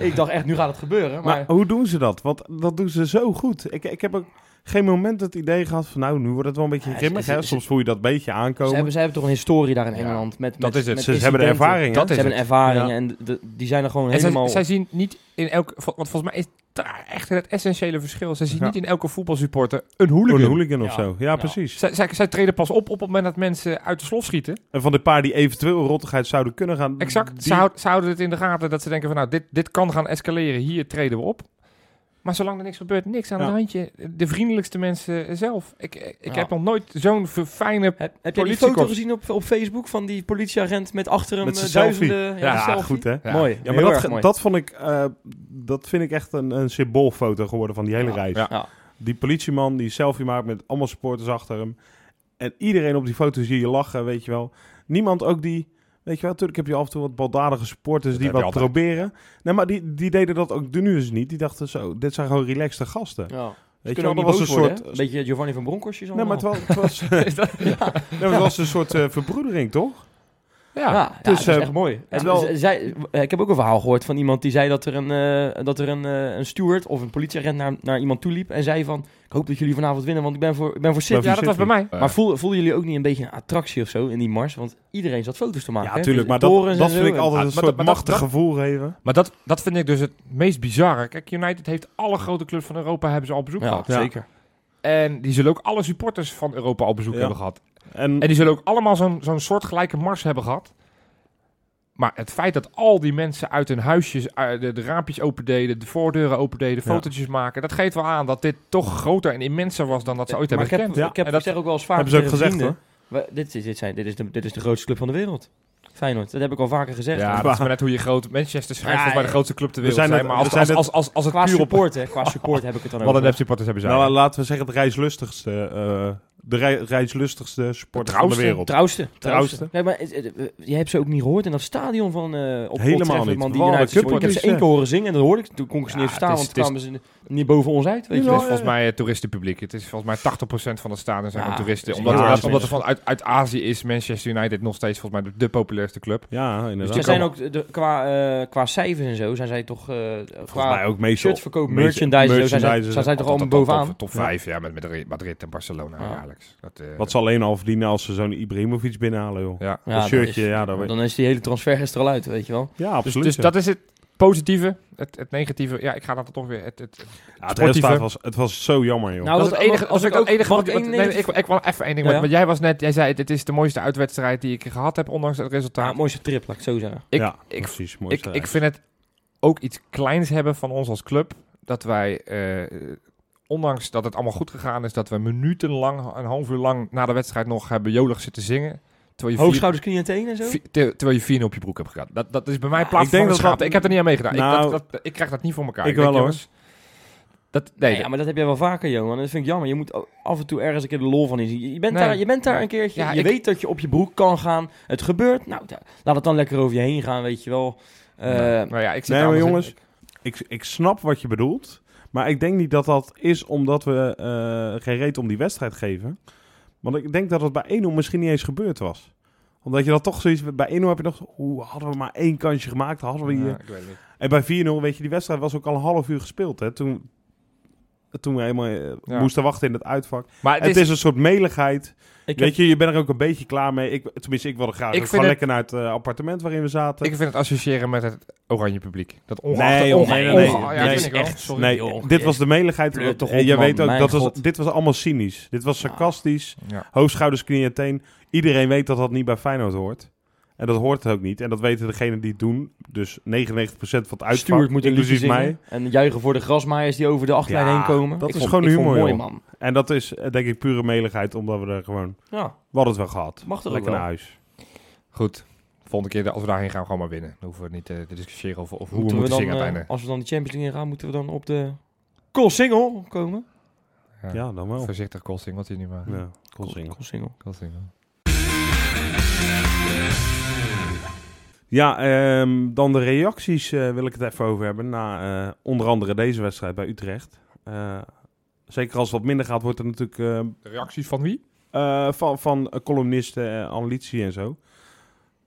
D: ik dacht echt, nu gaat het gebeuren.
B: Maar,
D: Maar
B: hoe doen ze dat? Want dat doen ze zo goed. Ik, ik heb ook geen moment het idee gehad van... nou, nu wordt het wel een beetje
D: Ja, ze-
B: grimmig,
D: ze-
B: hè?
D: ze-
B: Soms voel je dat beetje
D: Ze
B: aankomen.
D: hebben, ze hebben toch een historie daar in
C: Ja,
D: Engeland. met,
C: dat
D: met-
C: is het.
D: met
B: Ze, ze hebben de
D: incidenten.
B: ervaring, hè?
C: Dat
D: Ze
C: is
D: hebben
C: het.
D: ervaringen
B: Ja.
D: en de- die zijn er gewoon
C: En zij,
D: helemaal...
C: zij zien niet in elke... vo- Want volgens mij is daar echt het essentiële verschil. Zij zien
B: Ja.
C: niet in elke voetbalsupporter een hooligan.
B: Hooligan. Een hooligan of
D: Ja.
B: zo. Ja,
D: Ja.
B: precies.
C: Zij, zij, zij treden pas op op het moment dat mensen uit de slof schieten.
B: En van de paar die eventueel rottigheid zouden kunnen gaan...
C: Exact.
B: die-
C: Ze, houden, ze houden het in de gaten dat ze denken van nou, dit, dit kan gaan escaleren. Hier treden we op. Maar zolang er niks gebeurt, niks aan
B: Ja.
C: het handje. De vriendelijkste mensen zelf. Ik, ik
D: Ja.
C: heb nog nooit zo'n ver- fijne...
D: Heb, heb je die
C: politiekorps.
D: foto gezien op, op Facebook van die politieagent met achter hem
B: Met zijn
D: eh, duizenden...
B: Ja,
D: die selfie?
B: goed, hè?
C: Ja.
D: Mooi,
B: Ja,
D: heel
B: maar dat,
D: erg
B: ge-
D: mooi.
B: dat vond ik... eh, dat vind ik echt een, een symboolfoto geworden van die hele reis.
C: Ja.
D: Ja.
B: Die politieman die selfie maakt met allemaal supporters achter hem. En iedereen op die foto zie je lachen, weet je wel. Niemand ook die... Weet je wel, natuurlijk heb je af en toe wat baldadige supporters
C: Dat
B: die
C: heb je
B: wat
C: altijd.
B: proberen. Nee, maar die, die deden dat ook de nu eens niet. Die dachten zo, dit zijn gewoon relaxte gasten.
D: Ja.
B: Weet je
D: Kunnen
B: wel,
D: ook
B: dat
D: niet
B: was
D: boos
B: een
D: worden,
B: soort...
D: hè? Beetje Giovanni van Bronckhorst is
B: Nee, maar het was, het was,
C: Is dat-
B: nee, maar het was een soort eh, verbroedering, toch?
D: Ja,
C: ja.
D: ja,
B: dus,
D: dat is
B: eh,
D: echt mooi. En
B: terwijl-
D: z- zij, eh, ik heb ook een verhaal gehoord van iemand die zei dat er een, eh, dat er een, eh, een steward of een politieagent naar, naar iemand toe liep en zei van, ik hoop dat jullie vanavond winnen, want ik ben voor, ik ben voor City.
B: Maar
C: Ja, dat was bij mij.
D: Maar voel- voelden jullie ook niet een beetje een attractie of zo in die mars? Want iedereen zat foto's te maken.
B: Ja,
D: hè?
B: natuurlijk. Maar
D: Torens
B: dat, dat
D: en zo.
B: vind ik
D: En-
B: altijd
C: Ah,
B: een
C: maar
B: soort
C: dat- maar dat-
B: machtig
C: dat-
B: gevoel geven.
C: Maar dat, dat vind ik dus het meest bizarre. Kijk, United heeft alle grote clubs van Europa hebben ze al bezoek
D: Ja,
C: gehad.
B: Ja.
D: zeker.
C: En die zullen ook alle supporters van Europa al bezoek
B: Ja.
C: hebben gehad.
B: En,
C: En die zullen ook allemaal zo'n zo'n soortgelijke mars hebben gehad. Maar het feit dat al die mensen uit hun huisjes eh, de, de raampjes opendeden, de voordeuren opendeden,
B: Ja.
C: fotootjes maken, dat geeft wel aan dat dit toch groter en immenser was dan dat ze ooit
D: Maar
C: hebben
D: ik heb,
C: gekend.
B: Ja.
D: ik heb
C: En dat-
D: ik zeg ook wel eens vaak
B: hebben ze ook
D: tegen
B: gezegd,
D: vrienden, we- dit, is, dit, zijn, dit, is de, dit is de grootste club van de wereld. Feyenoord, dat heb ik al vaker gezegd.
C: Ja, dat is maar net hoe je groot Manchester schijnt
D: Ja,
C: volgens mij de
D: ja.
C: grootste club ter
B: We
C: wereld
B: zijn
C: zijn.
B: het-
C: Maar
B: we
C: als,
B: zijn
C: als,
B: het-
C: als, als, als het
D: Qua
C: puur op...
D: support, hè. Qua support heb ik het dan
C: Wat een
D: over.
C: nep-supporters hebben ze
B: Nou,
C: eigenlijk.
B: laten we zeggen het reislustigste, eh, de rei- reislustigste supporter van de
D: eh,
C: Trouwste.
B: wereld.
D: Trouwste.
B: Trouwste.
D: Nee, maar eh, eh, je hebt ze ook niet gehoord in dat stadion van eh op Old
B: Helemaal
D: Trafford,
B: niet.
D: Man, die
B: Wat een
D: United supporters. Ik heb ze één
B: kutpotjes,
D: keer horen zingen en dat hoorde ik. Toen kon ik ze
C: Ja,
D: niet verstaan,
C: het is-
D: want toen kwamen ze niet boven ons uit. Weet
C: Het
D: je
C: is
D: wel.
C: volgens mij eh, toeristenpubliek. Het is volgens mij 80% van de stadion zijn
D: Ja,
C: gewoon toeristen.
D: dus
C: Omdat,
B: ja,
C: omdat,
B: dus-
C: omdat er van uit, uit Azië is Manchester United nog steeds volgens mij de, de populairste club.
B: Ja, inderdaad.
D: Dus die zijn ook de, qua, eh, qua cijfers en zo, zijn zij toch eh,
B: Volgens
D: qua
B: mij ook meestal...
D: shirtverkoop,
B: meestal-
D: merchandise, en zo, zijn, zij-
B: merchandise,
D: zijn zij toch allemaal
C: Altijd al
D: bovenaan.
C: Top, top 5, ja, met Madrid, Madrid en Barcelona
D: Ja.
C: jaarlijks. Dat, eh,
B: Wat ze alleen al verdienen als ze zo'n Ibrahimovic binnenhalen, joh.
C: ja.
D: Ja,
B: dat
D: dan
B: shirtje,
D: is-
B: ja, dat weet-
D: Dan is die hele transfer er al uit, weet je wel.
B: Ja,
C: Dus,
B: absoluut.
C: dus
B: ja.
C: dat is het positieve. Het, het negatieve, ja, ik ga dat toch weer... Het, het,
B: Ja, het
C: sportieve.
B: resultaat was, het was zo jammer, joh.
D: Nou,
C: dat is het enige, als ik het enige
D: mag
C: wat,
D: ik
C: wat-
D: één
C: nee, ik,
D: negatief-
C: ik wil even één ding,
D: Ja,
C: want
D: ja.
C: jij was net, jij zei dit is de mooiste uitwedstrijd die ik gehad heb, ondanks het
D: Ja,
C: resultaat.
D: Ah, mooiste trip, laat ik het zo zeggen.
C: ik-
B: ja,
C: ik-
B: precies. Mooi
C: ik, ik vind het ook iets kleins hebben van ons als club. Dat wij, eh, ondanks dat het allemaal goed gegaan is, dat we minutenlang, een half uur lang na de wedstrijd nog hebben jolig zitten zingen. Terwijl je, vier,
D: Hoogschouders, knieën en tenen en zo?
C: vi- ter- terwijl je 4-0 op je broek hebt gedaan. Dat, dat is bij mij
D: Ja, ik
C: plaats
B: denk
C: van
B: dat
C: schaamte.
B: dat-
C: Ik heb er niet aan meegedaan. ik,
B: Nou,
C: dat, dat- ik krijg dat niet voor elkaar.
B: ik
C: denk,
B: wel, hoor.
C: jongens, Dat, nee,
D: ja, maar dat heb jij wel vaker, Johan. Dat vind ik jammer. Je moet o- af en toe ergens een keer de lol van inzien. Je- Je bent,
C: Nee.
D: daar, je bent daar
C: Nee.
D: een keertje.
C: Ja,
D: je
C: ik-
D: weet dat je op je broek kan gaan. Het gebeurt. Nou, da- laat het dan lekker over je heen gaan, weet je wel. Eh,
C: nou ja, ik zit
B: Nee, maar
C: anders in-
B: jongens, ik, ik snap wat je bedoelt. Maar ik denk niet dat dat is omdat we eh, geen reet om die wedstrijd geven. Want ik denk dat het bij 1-0 misschien niet eens gebeurd was. Omdat je dat toch zoiets... Bij 1-0 heb je nog... Hoe hadden we maar één kansje gemaakt? Hadden we hier...
C: Ja, nou, ik weet het niet.
B: En bij 4-0, weet je, die wedstrijd was ook al een half uur gespeeld. Hè? Toen, toen we eenmaal eh,
C: Ja.
B: moesten wachten in het uitvak.
C: Maar
B: Het, is een soort meligheid.
D: Ik heb-
B: Weet je, je bent er ook een beetje klaar mee. Ik, tenminste, ik wilde graag
C: Ik
B: ook
C: vind
B: gewoon
C: het-
B: lekker naar het eh, appartement waarin we zaten.
C: Ik vind het associëren met het oranje publiek. Dat ongeacht...
B: Nee,
C: onge-
B: nee, nee, nee.
D: Oh,
C: onge- ja,
B: Nee,
C: dat
B: is
C: vind ik wel.
D: echt- sorry,
B: nee,
D: joh.
B: dit was de meligheid. eh,
D: Pleur toch
B: en
D: op,
B: je
D: man.
B: weet ook,
D: Mijn
B: dat was,
D: God. Ah.
B: dit was allemaal cynisch. Dit was sarcastisch.
C: Ja.
B: Hoofd, schouders, knieën en teen. Iedereen weet dat dat niet bij Feyenoord hoort. En dat hoort het ook niet. En dat weten degenen die het doen. Dus 99% van het uitvak,
D: Stuart moet een liedje
B: inclusief
D: zingen.
B: mij.
D: En juichen voor de grasmaaiers die over de achterlijn
B: Ja,
D: heen komen.
B: dat
D: Ik
B: is
D: vond-
B: gewoon
D: ik vond het
B: humor,
D: mooi, man.
B: En dat is eh, denk ik pure meligheid, omdat we er gewoon...
D: Ja,
B: We hadden het wel gehad.
D: mag er ook
B: Lekker
D: wel.
B: naar huis.
C: Goed. Volgende keer, als we daarheen gaan, gewoon maar winnen. Dan hoeven we niet eh, te discussiëren over of hoe we
D: Moeten
C: moeten
D: we
C: zingen
D: dan, eh,
C: uiteindelijk.
D: als we dan de Champions League in gaan, moeten we dan op de Cool Single komen.
C: Ja.
B: Ja, dan wel.
C: Voorzichtig, Kosting, wat hij nu maar...
B: Ja, cool single.
D: Cool Single.
C: Kosting, hoor.
B: Ja, ehm, dan de reacties eh, wil ik het even over hebben. Na eh, onder andere deze wedstrijd bij Utrecht. Eh, zeker als het wat minder gaat, wordt er natuurlijk eh,
C: De reacties van wie?
B: eh, van, van eh, columnisten, eh, analytici en zo.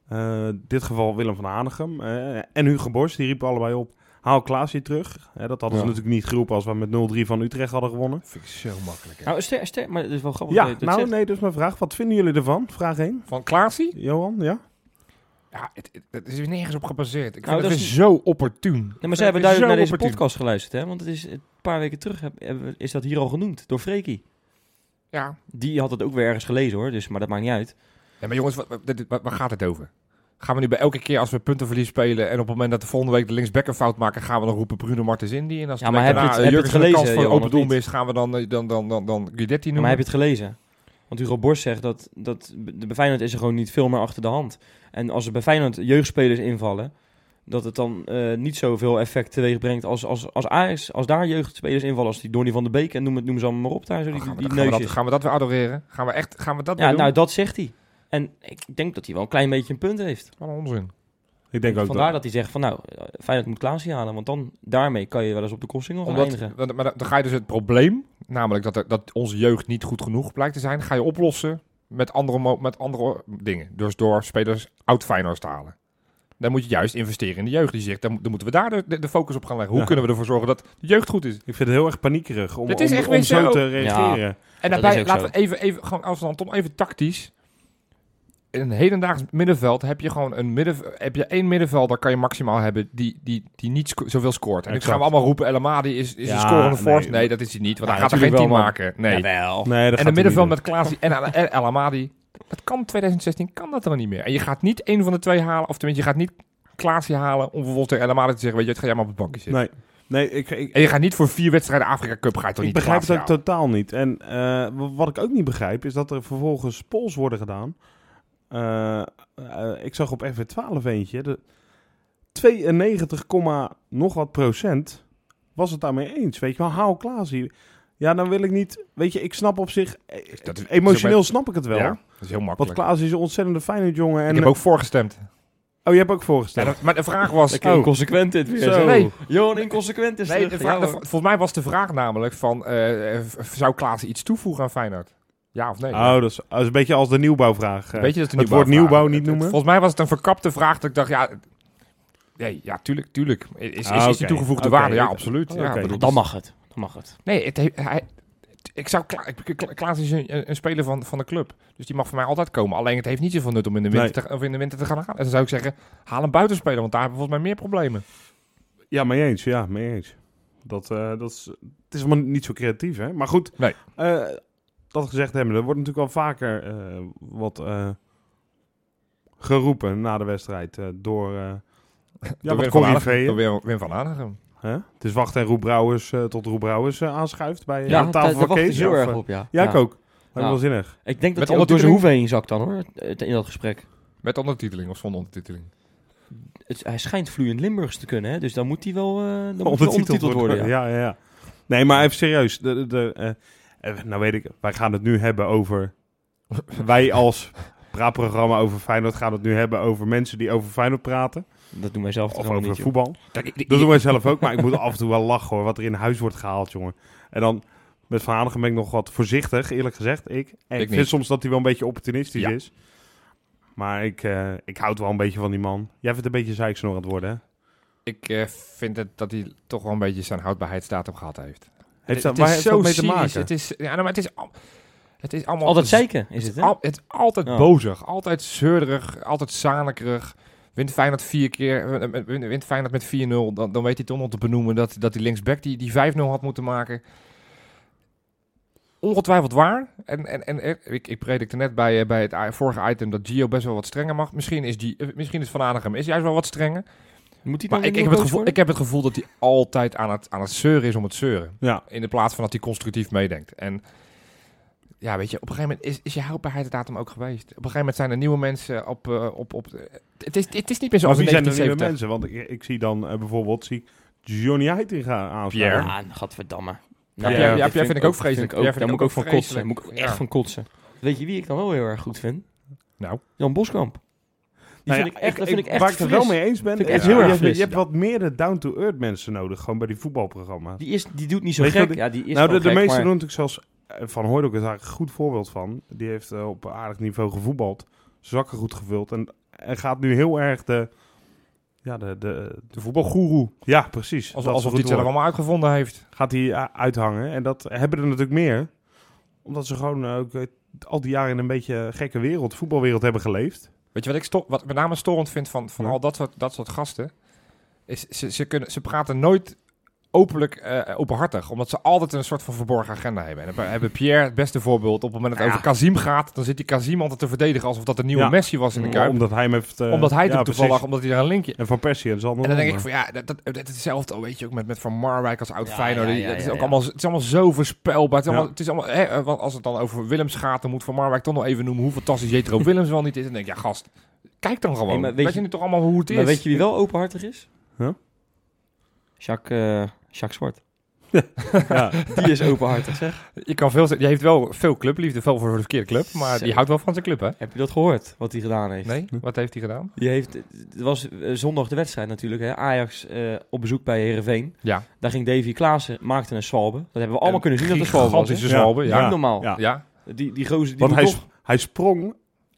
B: Eh, in dit geval Willem van Hanegem eh, en Hugo Borst. Die riepen allebei op, haal Klaasje terug. Eh, dat hadden ze
C: Ja.
B: natuurlijk niet geroepen als we met 0-3 van Utrecht hadden gewonnen.
C: Vind ik zo makkelijk. hè.
D: Nou, ster, ster, maar het is wel grappig.
B: ja,
D: dat je dat
B: nou
D: zegt.
B: nee, dus mijn vraag. Wat vinden jullie ervan? Vraag 1.
C: Van Klaasie?
B: Johan, ja?
C: Ja, het, het- het is weer nergens op gebaseerd. Ik
D: Nou,
C: vind het
D: dat
C: weer
D: is-
C: zo opportun.
D: Nee, maar zij hebben
C: Zo
D: duidelijk naar deze
C: opportun.
D: podcast geluisterd, hè? Want het is eh, een paar weken terug heb- hebben we- is dat hier al genoemd door Freekie.
C: Ja.
D: Die had het ook weer ergens gelezen, hoor. Dus, maar dat maakt niet uit.
C: Ja, maar jongens, wat- wat- dit- waar, waar gaat het over? Gaan we nu bij elke keer als we puntenverlies spelen en op het moment dat de volgende week de linksback een fout maken, gaan we dan roepen Bruno Martens in die en als
D: Ja,
C: de
D: maar
C: week
D: heb je het-
C: daarna, eh,
D: heb je het
C: Jurgensen
D: gelezen,
C: een kans voor
D: Johan,
C: open
D: of
C: doel mist, gaan we dan eh, dan dan dan dan Guidetti
D: maar
C: noemen?
D: heb je het gelezen? Want Hugo Borst zegt dat, dat b- bij Feyenoord is er gewoon niet veel meer achter de hand. En als er bij Feyenoord jeugdspelers invallen, dat het dan eh, niet zoveel effect teweeg brengt als, als, als, Ajax, als daar jeugdspelers invallen. Als die Donny van de Beek en noem, het, noem ze allemaal maar op daar, zo
C: Oh,
D: die,
C: gaan, we,
D: die
C: dat- gaan, we dat,
D: neusjes.
C: gaan we dat weer adoreren? Gaan we echt gaan we dat
D: Ja,
C: weer doen?
D: nou dat zegt hij. En ik denk dat hij wel een klein beetje een punt heeft.
C: Wat een onzin.
B: Ik denk ook
D: Vandaar dat... hij zegt van nou, eh, Feyenoord moet Klaasie halen. Want dan, daarmee kan je wel eens op de kostsingel gaan
C: Omdat,
D: eindigen.
C: want- maar dan- dan ga je dus het probleem, namelijk dat, er- dat onze jeugd niet goed genoeg blijkt te zijn, ga je oplossen met andere, mo- met andere dingen. Dus door spelers oud Feyenoord te halen. Dan moet je juist investeren in de jeugd. Die zegt, dan, mo- dan moeten we daar de, de- de focus op gaan leggen. Hoe
B: Ja.
C: kunnen we ervoor zorgen dat de jeugd goed is?
B: Ik vind het heel erg paniekerig om,
C: Het is
B: om,
C: echt
B: om
C: weer
B: zo
C: zo-
B: te reageren.
C: En
D: Dat is
C: daarbij,
D: ook
C: laten
D: zo.
C: we even, even gewoon, als dan toch even tactisch. In een hedendaags middenveld heb je gewoon een midden, heb je één middenvelder kan je maximaal hebben die, die, die niet sco- zoveel scoort. En ik
B: Exact.
C: gaan we allemaal roepen, Elamadi is, is
B: Ja,
C: een scorende force.
B: nee. Nou,
C: Nee, dat is hij niet, want
D: Ja,
C: hij gaat er geen team
D: natuurlijk wel, man.
C: maken. Nee.
D: Jawel.
B: Nee, dat
C: en
B: gaat
C: de
B: hij
C: middenveld
B: niet
C: met Klaas en El- El El Amadi. Dat kan 2016, kan dat dan niet meer. En je gaat niet één van de twee halen, of tenminste, je gaat niet Klaasje halen om vervolgens tegen El Amadi te zeggen, weet je, het ga jij maar op het bankje
B: doen.
C: zitten.
B: Nee, nee ik, ik,
C: En je gaat niet voor vier wedstrijden Afrika Cup, ga je toch
B: ik
C: niet
B: begrijp het
C: Klaasie
B: ook totaal niet. En eh, w- wat ik ook niet begrijp, is dat er vervolgens polls worden gedaan. Eh, eh, ik zag op FW12 eentje, de 92, komma nog wat procent was het daarmee eens. Weet je wel, haal Klaas hier. Ja, dan wil ik niet... Weet je, ik snap op zich... eh,
C: Dus dat is-
B: emotioneel snap ik het wel.
C: halen? Ja, dat is heel makkelijk.
B: want Klaas is een ontzettende fijne jongen. En,
C: ik heb ook voorgestemd.
B: Oh, je hebt ook voorgesteld.
C: Ja, dat- maar de vraag was...
D: Lekker
C: Oh,
D: inconsequent dit weer.
C: Zo.
D: zeg.
C: Nee.
D: Johan, inconsequent is
C: nee,
D: terug.
C: de
D: Ja,
C: vraag, de-
D: hoor.
C: volgens mij was de vraag namelijk van... eh, eh, v- zou Klaas iets toevoegen aan Feyenoord? Ja of nee?
B: Oh, dat is, dat is een beetje als de nieuwbouwvraag. eh.
C: Weet je, dat is de
B: het woord
C: nieuwbouwvraag.
B: nieuwbouw niet
C: Het- het-
B: noemen?
C: Volgens mij was het een verkapte vraag dat ik dacht, ja... Nee, ja, tuurlijk, tuurlijk. Is, is, is
B: Ah,
C: die
B: oké.
C: toegevoegde
B: Oké.
C: waarde? Ja, absoluut.
B: Oh,
C: ja,
B: oké.
C: bedoel, dus-
D: Dan mag het. Dan mag het.
C: Nee, het, he- hij, ik zou Kla- ik- Kla- Klaas is een, een speler van, van de club. Dus die mag voor mij altijd komen. Alleen het heeft niet zoveel nut om in de winter, te, of in de winter te gaan halen. En dan zou ik zeggen, haal een buitenspeler, want daar hebben we volgens mij meer problemen.
B: Ja, mee eens. Ja, mee eens. Dat, eh, dat is, het is allemaal niet zo creatief, hè? Maar goed,
C: Nee.
B: eh, dat gezegd hebben, er wordt natuurlijk wel vaker eh, wat eh, geroepen na de wedstrijd eh, door, eh ja,
C: Door
B: wat
C: Wim van Hanegem-
B: corriveeën.
C: door Wim- Wim van Hanegem.
B: hè? Het is wacht en Roep Brouwers eh, tot Roep Brouwers eh, aanschuift bij eh,
D: Ja,
B: de
D: daar-
B: tafel
D: daar
B: van
D: wacht ik
B: Kees.
D: heel
B: of,
D: erg
B: eh,
D: op, ja.
B: Ja, ik ook. Dat is
D: Ja.
B: wel zinnig.
D: Ik denk dat
C: Met
D: hij ook door zijn
C: ondertiteling?
D: hoeven heen zakt dan, hoor. het- In dat gesprek.
C: Met ondertiteling of zonder ondertiteling?
D: Het, hij schijnt vloeiend Limburgs te kunnen, hè. Dus dan moet hij wel, eh dan moet hij wel
B: Ondertiteld
D: ondertiteld worden, ja.
B: ja. Ja, ja. Nee, maar even serieus. De, de, de, eh, eh, nou weet ik, wij gaan het nu hebben over... wij als praatprogramma over Feyenoord gaan het nu hebben over mensen die over Feyenoord praten.
D: Dat doen wij zelf toch
B: Of
D: helemaal
B: over
D: niet, joh.
B: voetbal. Dat doen wij zelf ook, maar ik moet af en toe wel lachen hoor, wat er in huis wordt gehaald, jongen. En dan met Van Hanegem ben ik nog wat voorzichtig, eerlijk gezegd. Ik, ik,
C: Ik
B: vind
C: niet.
B: soms dat hij wel een beetje opportunistisch
C: Ja.
B: is. Maar ik, eh, ik houd wel een beetje van die man. Jij vindt een beetje zeiksnor aan het worden, hè?
C: Ik eh, vind het dat hij toch wel een beetje zijn houdbaarheidsdatum gehad heeft.
B: Heeft
C: het
B: dat, waar
C: is
B: heeft
C: zo
B: dat mee te
C: cynisch.
B: maken?
C: Het is, ja, nou, maar het is, al- het is allemaal...
D: Altijd zeker is het, hè?
C: Al- het is altijd
D: Ja.
C: bozig, altijd zeurderig, altijd zanekerig. Wint Feyenoord vier keer, eh, eh, win- wint Feyenoord met 4-0. Dan, dan weet hij toch nog te benoemen dat, dat die linksback die, die 5-0 had moeten maken. Ongetwijfeld waar. En, en, en eh, ik, ik predikte net bij, eh, bij het i- vorige item dat Gio best wel wat strenger mag. Misschien is, die, eh, misschien is Van Aanigem is juist wel wat strenger.
D: Moet hij dan
C: Maar
D: weer
C: ik, ik, heb het
D: nieuwe coach
C: gevoel,
D: worden?
C: ik heb het gevoel dat hij altijd aan het, aan het zeuren is om het zeuren.
B: Ja.
C: In de plaats van dat hij constructief meedenkt. En ja, weet je, op een gegeven moment is, is je houdbaarheidsdatum ook geweest. Op een gegeven moment zijn er nieuwe mensen op... eh, op, op het, is, het is niet meer
B: Maar
C: zoals in
B: wie zijn er nieuwe
C: 1970.
B: mensen? Want ik, ik zie dan eh, bijvoorbeeld zie ik Johnny Heitinga aanstaan.
C: Pierre.
D: Ja, gadverdamme.
C: Ja,
D: Nee,
C: Pierre-
D: dit
C: ja, Pierre vind ik ook vreselijk.
D: vind ik
C: Pierre vind ik
D: ook- Daar moet ik ook van kotsen. Daar
C: vreselijk.
D: moet ik ook echt
C: Ja.
D: van kotsen. Weet je wie ik dan wel heel erg goed vind?
C: Nou.
D: Jan Boskamp. Die
B: Nou ja,
D: vind ik echt, dat vind ik echt
B: waar ik het wel
D: fris.
B: mee eens ben,
D: Vind ik
B: is-
D: echt heel
B: je
D: erg
B: hebt-
D: fris.
B: je hebt wat meer de down-to-earth mensen nodig, gewoon bij die voetbalprogramma's.
D: Die, is, die doet niet zo
B: Weet je
D: gek.
B: wat
D: ja, die is
B: nou, de,
D: wel
B: de
D: gek,
B: meeste
D: maar-
B: doen natuurlijk zoals eh, Van Hooydonk is eigenlijk een goed voorbeeld van. Die heeft eh, op aardig niveau gevoetbald, zakken goed gevuld en, en gaat nu heel erg de... Ja, de, de,
C: De voetbalgoeroe.
B: ja precies.
C: Als,
B: Dat
C: alsof
B: soort
C: hij het zelf
B: woorden.
C: allemaal uitgevonden heeft.
B: Gaat hij eh, uithangen en dat hebben er natuurlijk meer. Omdat ze gewoon eh, ook eh, al die jaren in een beetje gekke wereld, voetbalwereld hebben geleefd.
C: Weet je wat ik sto- wat ik met name storend vind van, van
B: Ja.
C: al dat soort, dat soort gasten? Is, ze, ze, kunnen, ze praten nooit openlijk, eh, openhartig, omdat ze altijd een soort van verborgen agenda hebben. En dan hebben Pierre het beste voorbeeld. Op het moment dat het
D: Ja.
C: over Kazim gaat, dan zit die Kazim altijd te verdedigen alsof dat de nieuwe
B: Ja.
C: Messi was in de Kuip.
B: Omdat hij hem heeft... eh,
C: omdat hij
B: ja,
C: toen toevallig,
B: precies.
C: omdat hij daar een linkje...
B: En Van Persie en zal
C: En dan denk ik van ja, dat, dat, dat is hetzelfde, weet je, ook met, met Van Marwijk als oud
D: Ja,
C: Feyenoord.
D: ja,
C: Die-
D: ja,
C: dat is
D: ja,
C: ook
D: ja.
C: allemaal, het is allemaal zo voorspelbaar. Het is
B: Ja.
C: allemaal, het is allemaal hè, eh, want als het dan over Willems gaat, dan moet Van Marwijk toch nog even noemen hoe fantastisch Jetro Willems wel niet is. En dan denk ik, ja gast, kijk dan gewoon.
D: Hey, maar
C: weet,
D: weet
C: je
D: je-
C: nu toch allemaal hoe het is?
D: Maar weet je wie wel openhartig is?
B: Huh?
D: Jacques, eh, Jacques Zwart.
B: Ja.
D: Die is openhartig, zeg.
C: Je, kan veel, je heeft wel veel clubliefde, veel voor de verkeerde club, maar die
D: Zo.
C: houdt wel van zijn club, hè?
D: Heb je dat gehoord, wat hij gedaan heeft?
C: Nee? Wat heeft hij gedaan?
D: Die heeft, het was eh, zondag de wedstrijd natuurlijk, hè? Ajax eh, op bezoek bij Herenveen.
C: Ja.
D: Daar ging Davy Klaassen, maakte een zwalbe. Dat hebben we allemaal kunnen zien dat het een zwalbe was. hè?
C: Gigantische zwalbe, ja.
D: Niet
C: Ja.
D: normaal.
B: Ja.
D: Die, die gozer, die
B: Want
D: moet
B: hij,
D: toch-
B: sp- hij sprong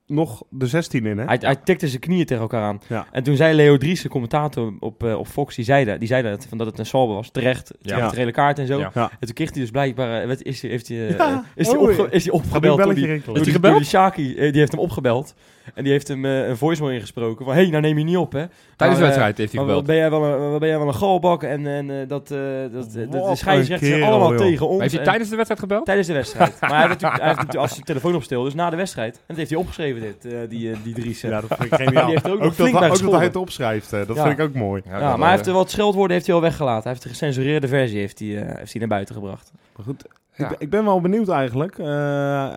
B: nog de 16 in, hè?
D: Hij, hij tikte zijn knieën tegen elkaar aan.
B: Ja.
D: En toen zei Leo Dries, de commentator op, eh, op Fox, die zei, dat, die zei dat, van dat het een salbe was. Terecht,
C: Ja.
D: ja. een gele kaart en zo.
C: Ja.
B: Ja.
D: En toen kreeg hij dus blijkbaar... eh, werd- Is hij heeft hij, eh,
B: Ja,
D: eh, is hij
B: oei.
D: opge- is hij
B: Ga die
D: opgebeld door
B: belletje
D: die,
B: rinkelen.
D: door die,
C: gebeld?
D: door die Shaki. eh, Die heeft hem opgebeld. En die heeft hem eh, een voicemail ingesproken. Van, hé, hey, nou neem je niet op, hè.
C: Tijdens de
D: Maar, eh,
C: wedstrijd heeft hij
D: Maar wat
C: gebeld.
D: ben jij wel een, wat ben jij wel een galbak? En, en eh, dat, eh, dat, eh, dat
B: Wat
D: de
B: een
D: scheidsrechters zijn
B: kerel,
D: allemaal
B: joh.
D: tegen ons. eh,
C: Heeft hij
D: En-
C: tijdens de wedstrijd gebeld?
D: Tijdens de wedstrijd. maar hij heeft natuurlijk, hij heeft natuurlijk als zijn telefoon op stil, dus na de wedstrijd. En dat heeft hij opgeschreven, dit, eh, die, eh, die Dries. eh.
B: Ja, dat vind ik geniaal.
D: Die heeft er ook nog
B: dat,
D: flink bij
B: ook dat hij
D: gescholden.
B: het opschrijft, hè. dat
D: Ja.
B: vind ik ook mooi.
D: Ja, maar hij
B: eh,
D: heeft er wat scheldwoorden heeft hij al weggelaten. Hij heeft de gecensureerde versie heeft hij, eh, heeft hij naar buiten gebracht.
B: Maar goed,
C: Ja.
B: ik, ben- ik ben wel benieuwd eigenlijk. Eh,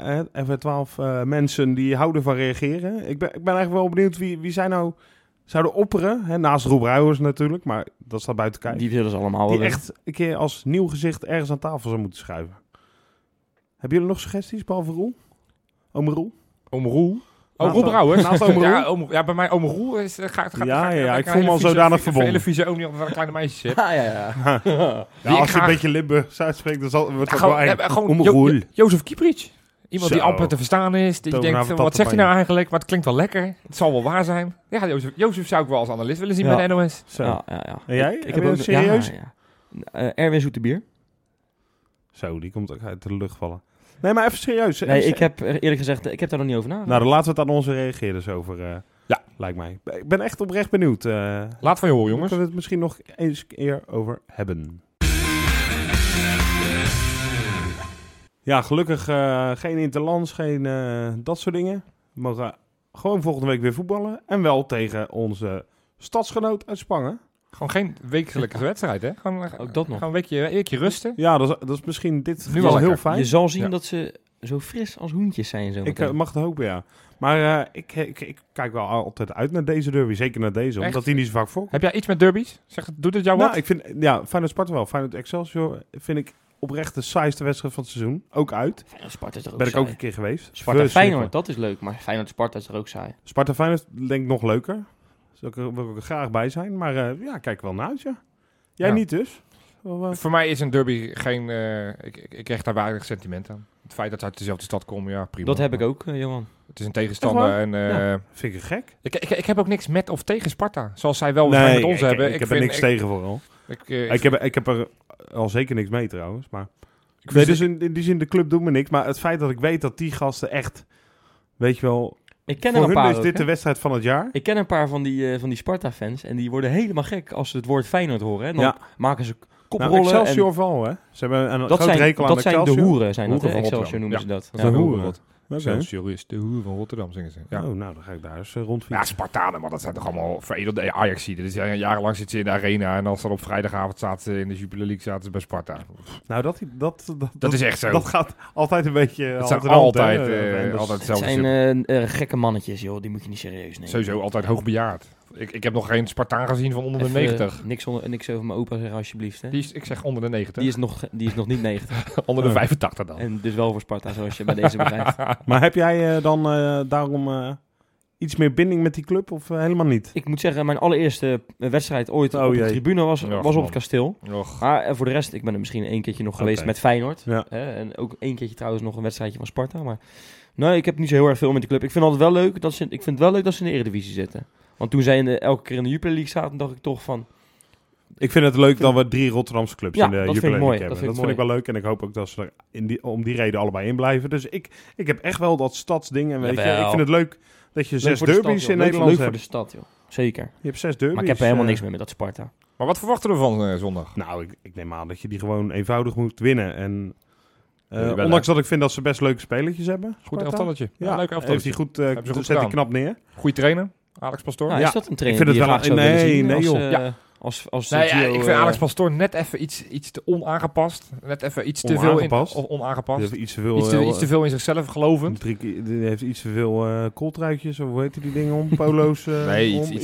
B: hè, even 12 eh, mensen die houden van reageren. Ik ben, ik ben eigenlijk wel benieuwd wie, wie zij nou zouden opperen. Hè, naast Rob Ruijers natuurlijk, maar dat staat buiten kijf. Die,
D: Die willen ze allemaal wel
B: echt een keer als nieuw gezicht ergens aan tafel zou moeten schuiven. Hebben jullie nog suggesties, behalve Roel? Oom Roel?
C: Om Roel. Oh,
B: Naast
C: Roel
B: Oom-
C: Brouwers.
B: naast Oom Roel?
C: Ja, Oom- ja, bij mij Oom Roel is... eh, Gaat, gaat,
B: Ja,
C: gaat-
B: ja,
C: gaat-
B: ik
C: gaat
B: voel me
C: een
B: al
C: vieze-
B: zodat
C: een
B: verbonden.
C: hele vieze oom die altijd wel een kleine meisjes heeft.
D: Ah, ja, ja.
B: Ja,
C: Die
B: als je
C: graag-
B: een beetje Limburg uitspreekt, dan zal, wordt dat
C: Gewoon,
B: wel eng.
C: eh, gewoon
B: Om
C: Jo-
B: Roel.
C: Jo- Jozef Kieprits. Iemand die
B: Zo.
C: amper te verstaan is. Die
B: Toon
C: denkt,
B: Havertap
C: eh, wat zegt hij
B: erbij.
C: nou eigenlijk? Maar het klinkt wel lekker. Het zal wel waar zijn. Ja, Jozef, Jozef zou ik wel als analist willen zien
D: Ja.
C: bij de NOS.
B: Zo.
D: Ja, ja, ja.
B: En jij? Heb je
D: ook-
B: het serieus?
D: Ja, ja. Eh, Erwin Zoetebier.
B: Zo, die komt ook uit de lucht vallen. Nee, maar even serieus.
D: Nee,
B: Even-
D: ik heb eh, eerlijk gezegd, eh, ik heb daar nog niet over nagedacht.
B: Nou, dan laten we het aan onze reageerders over. eh,
C: Ja.
B: Lijkt mij. Ik ben echt oprecht benieuwd. eh daar
C: Laat van je horen, jongens.
B: kunnen we het misschien nog eens een keer over hebben. Ja, gelukkig eh, geen interlands, geen eh, dat soort dingen. We mogen gewoon volgende week weer voetballen. En wel tegen onze stadsgenoot uit Spangen.
C: Gewoon geen wekelijkse wedstrijd, hè? Gewoon, eh,
D: Ook dat nog.
C: Gewoon een weekje, een weekje rusten.
B: Ja, dat is, dat is misschien dit
C: Nu
B: nu
C: al
B: al heel
C: lekker.
B: fijn.
D: Je zal zien
C: Ja.
D: dat ze zo fris als hoentjes zijn zo
B: Ik eh, mag het hopen, ja. Maar eh, ik, ik, ik kijk wel altijd uit naar deze derby. Zeker naar deze,
C: Echt?
B: omdat die niet zo vaak voorkomt.
C: Heb jij iets met derbies? Zeg, doet het jou
B: Nou,
C: wat?
B: ik vind, ja, Feyenoord Sparta wel. Feyenoord Excelsior vind ik oprecht de saaiste wedstrijd van het seizoen. Ook uit.
D: Sparta is toch ook
B: ben ik ook
D: saai?
B: een keer geweest.
D: Sparta
B: Verschrikkelijk.
D: Feyenoord, dat is leuk. Maar Feyenoord Sparta is toch ook saai?
B: Sparta Feyenoord denk ik nog leuker. Daar wil ik er graag bij zijn. Maar eh, ja, kijk wel naar uit, ja. Jij
C: Ja.
B: niet dus? Wel, eh,
C: Voor mij is een derby geen... eh, ik, ik, ik krijg daar weinig sentiment aan. Het feit dat ze uit dezelfde stad komen, ja, prima.
D: Dat heb ik ook, eh, Johan.
C: Het is een tegenstander en... eh,
B: vind ik gek.
C: Ik, ik, ik heb ook niks met of tegen Sparta. Zoals zij wel
B: Nee,
C: waarschijnlijk met ons
B: ik,
C: hebben.
B: Ik, heb er
C: vind-
B: niks tegen vooral.
C: Ik, eh,
B: Ik heb, ik heb er al zeker niks mee trouwens. Maar...
C: ik
B: Nee,
C: vind-
B: dus in, in die zin, de club doet me niks. Maar het feit dat ik weet dat die gasten echt... Weet je wel,
D: Ik ken er
B: voor
D: een
B: hun
D: paar
B: is
D: ook,
B: dit
D: hè.
B: de wedstrijd van het jaar.
D: Ik ken een paar van die, eh, van die Sparta-fans en die worden helemaal gek als ze het woord Feyenoord horen. Hè. En dan
B: Ja.
D: maken ze
B: Nou,
D: koprollen.
B: Excelsior vooral, hè? Ze hebben een
D: en dat
B: groot
D: zijn,
B: rekel aan
D: dat
B: de
D: zijn de
B: Excelsior.
D: hoeren, zijn dat,
C: Hoeren
D: hè?
C: van Rotterdam.
D: Excelsior noemen
C: Ja,
D: ze dat.
C: dat
D: Ja.
C: zijn
B: hoeren.
C: hoeren.
B: Oké.
C: Excelsior is de hoer van Rotterdam, zingen ze. Ja.
B: Oh, nou, dan ga ik daar eens rond
C: Ja,
B: rondfietsen.
C: Spartanen, maar dat zijn toch allemaal veredelde ajax Dit is eh, jarenlang zitten ze in de arena en als dan op vrijdagavond zaten ze in de Jupiler League zaten ze bij Sparta.
B: nou, dat, dat, dat, dat,
C: Dat is echt zo.
B: dat gaat altijd een beetje...
C: Het
B: hand
C: zijn
B: in hand, hè,
C: altijd,
B: eh,
C: eh,
B: Wenders.
C: altijd
D: Het
C: hetzelfde.
D: zijn
C: stuk.
D: eh, eh, gekke mannetjes, joh. Die moet je niet serieus nemen.
C: Sowieso altijd hoogbejaard. Ik, ik heb nog geen Spartaan gezien van onder de
D: Even, eh,
C: 90.
D: Niks, onder, niks over mijn opa zeggen, alsjeblieft. Hè.
C: Die is, ik zeg onder de 90.
D: Die, is nog, die is nog niet 90.
C: onder de
B: Oh.
C: 85 dan.
D: En dus wel voor Sparta, zoals je bij deze begrijpt.
B: Maar heb jij eh, dan eh, daarom eh, iets meer binding met die club of eh, helemaal niet?
D: Ik moet zeggen, mijn allereerste eh, wedstrijd ooit
B: Oh,
D: op de
B: jee.
D: tribune was,
C: Och,
D: was op
C: man.
D: het kasteel.
C: Och,
D: Maar eh, voor de rest, ik ben er misschien één keertje nog geweest
B: Oké.
D: met Feyenoord.
B: Ja.
D: Hè, en ook één keertje trouwens nog een wedstrijdje van Sparta. Maar nee, ik heb niet zo heel erg veel met de club. Ik vind, altijd wel leuk dat ze, ik vind het wel leuk dat ze in de Eredivisie zitten. Want toen zij in de, elke keer in de Jupiler League zaten, dacht ik toch van...
B: Ik vind het leuk dat we drie Rotterdamse clubs
D: Ja,
B: in de
D: dat vind ik
B: Jupiler League
D: mooi,
B: hebben.
D: dat
B: Dat
D: vind
B: vind,
D: ik
B: ik wel leuk en ik hoop ook dat ze er in die, om die reden allebei in blijven. Dus ik, ik heb echt wel dat stadsding. En weet je,
D: Jawel.
B: ik vind het leuk dat je
D: leuk
B: zes
D: voor de
B: derbies
D: stad, joh.
B: in
D: Leuk-
B: Nederland
D: Leuk voor
B: hebt.
D: de stad, joh. Zeker.
B: Je hebt zes derbies.
D: Maar ik heb er helemaal
B: eh,
D: niks meer met dat Sparta.
C: Maar wat verwachten we van eh, zondag?
B: Nou, ik, ik neem aan dat je die gewoon eenvoudig moet winnen. En eh,
C: Ja, wel,
B: ondanks dat ik vind dat ze best leuke spelletjes hebben.
C: Goed
B: Sparta.
C: elftalletje. Ja,
B: Ja,
C: leuk
B: Heeft
C: elftalletje.
B: hij goed, eh,
C: Hebben ze goed
B: zet hij
C: gedaan.
B: knap neer.
C: Goeie trainer, Alex Pastoor.
D: Nou,
B: Ja,
D: is dat een trainer
B: ik vind
D: die
B: het
D: je
B: wel
D: graag zou
B: een-
D: willen
B: nee,
D: zien
B: nee,
D: als,
B: joh.
D: eh,
C: Ja.
D: als, als
C: Nee, ja,
D: Gio,
C: ik vind
D: eh,
C: Alex Pastoor net even iets, iets te onaangepast. Net even iets te veel in,
B: Onaangepast?
C: o-
B: Die
C: onaangepast.
B: heeft iets te veel,
C: Iets te,
B: eh,
C: iets te veel in zichzelf gelovend.
B: Drie keer- die heeft iets te veel eh kooltruitjes, of hoe heet die dingen om? Polo's? eh, om, te veel
C: iets,
B: korfbal.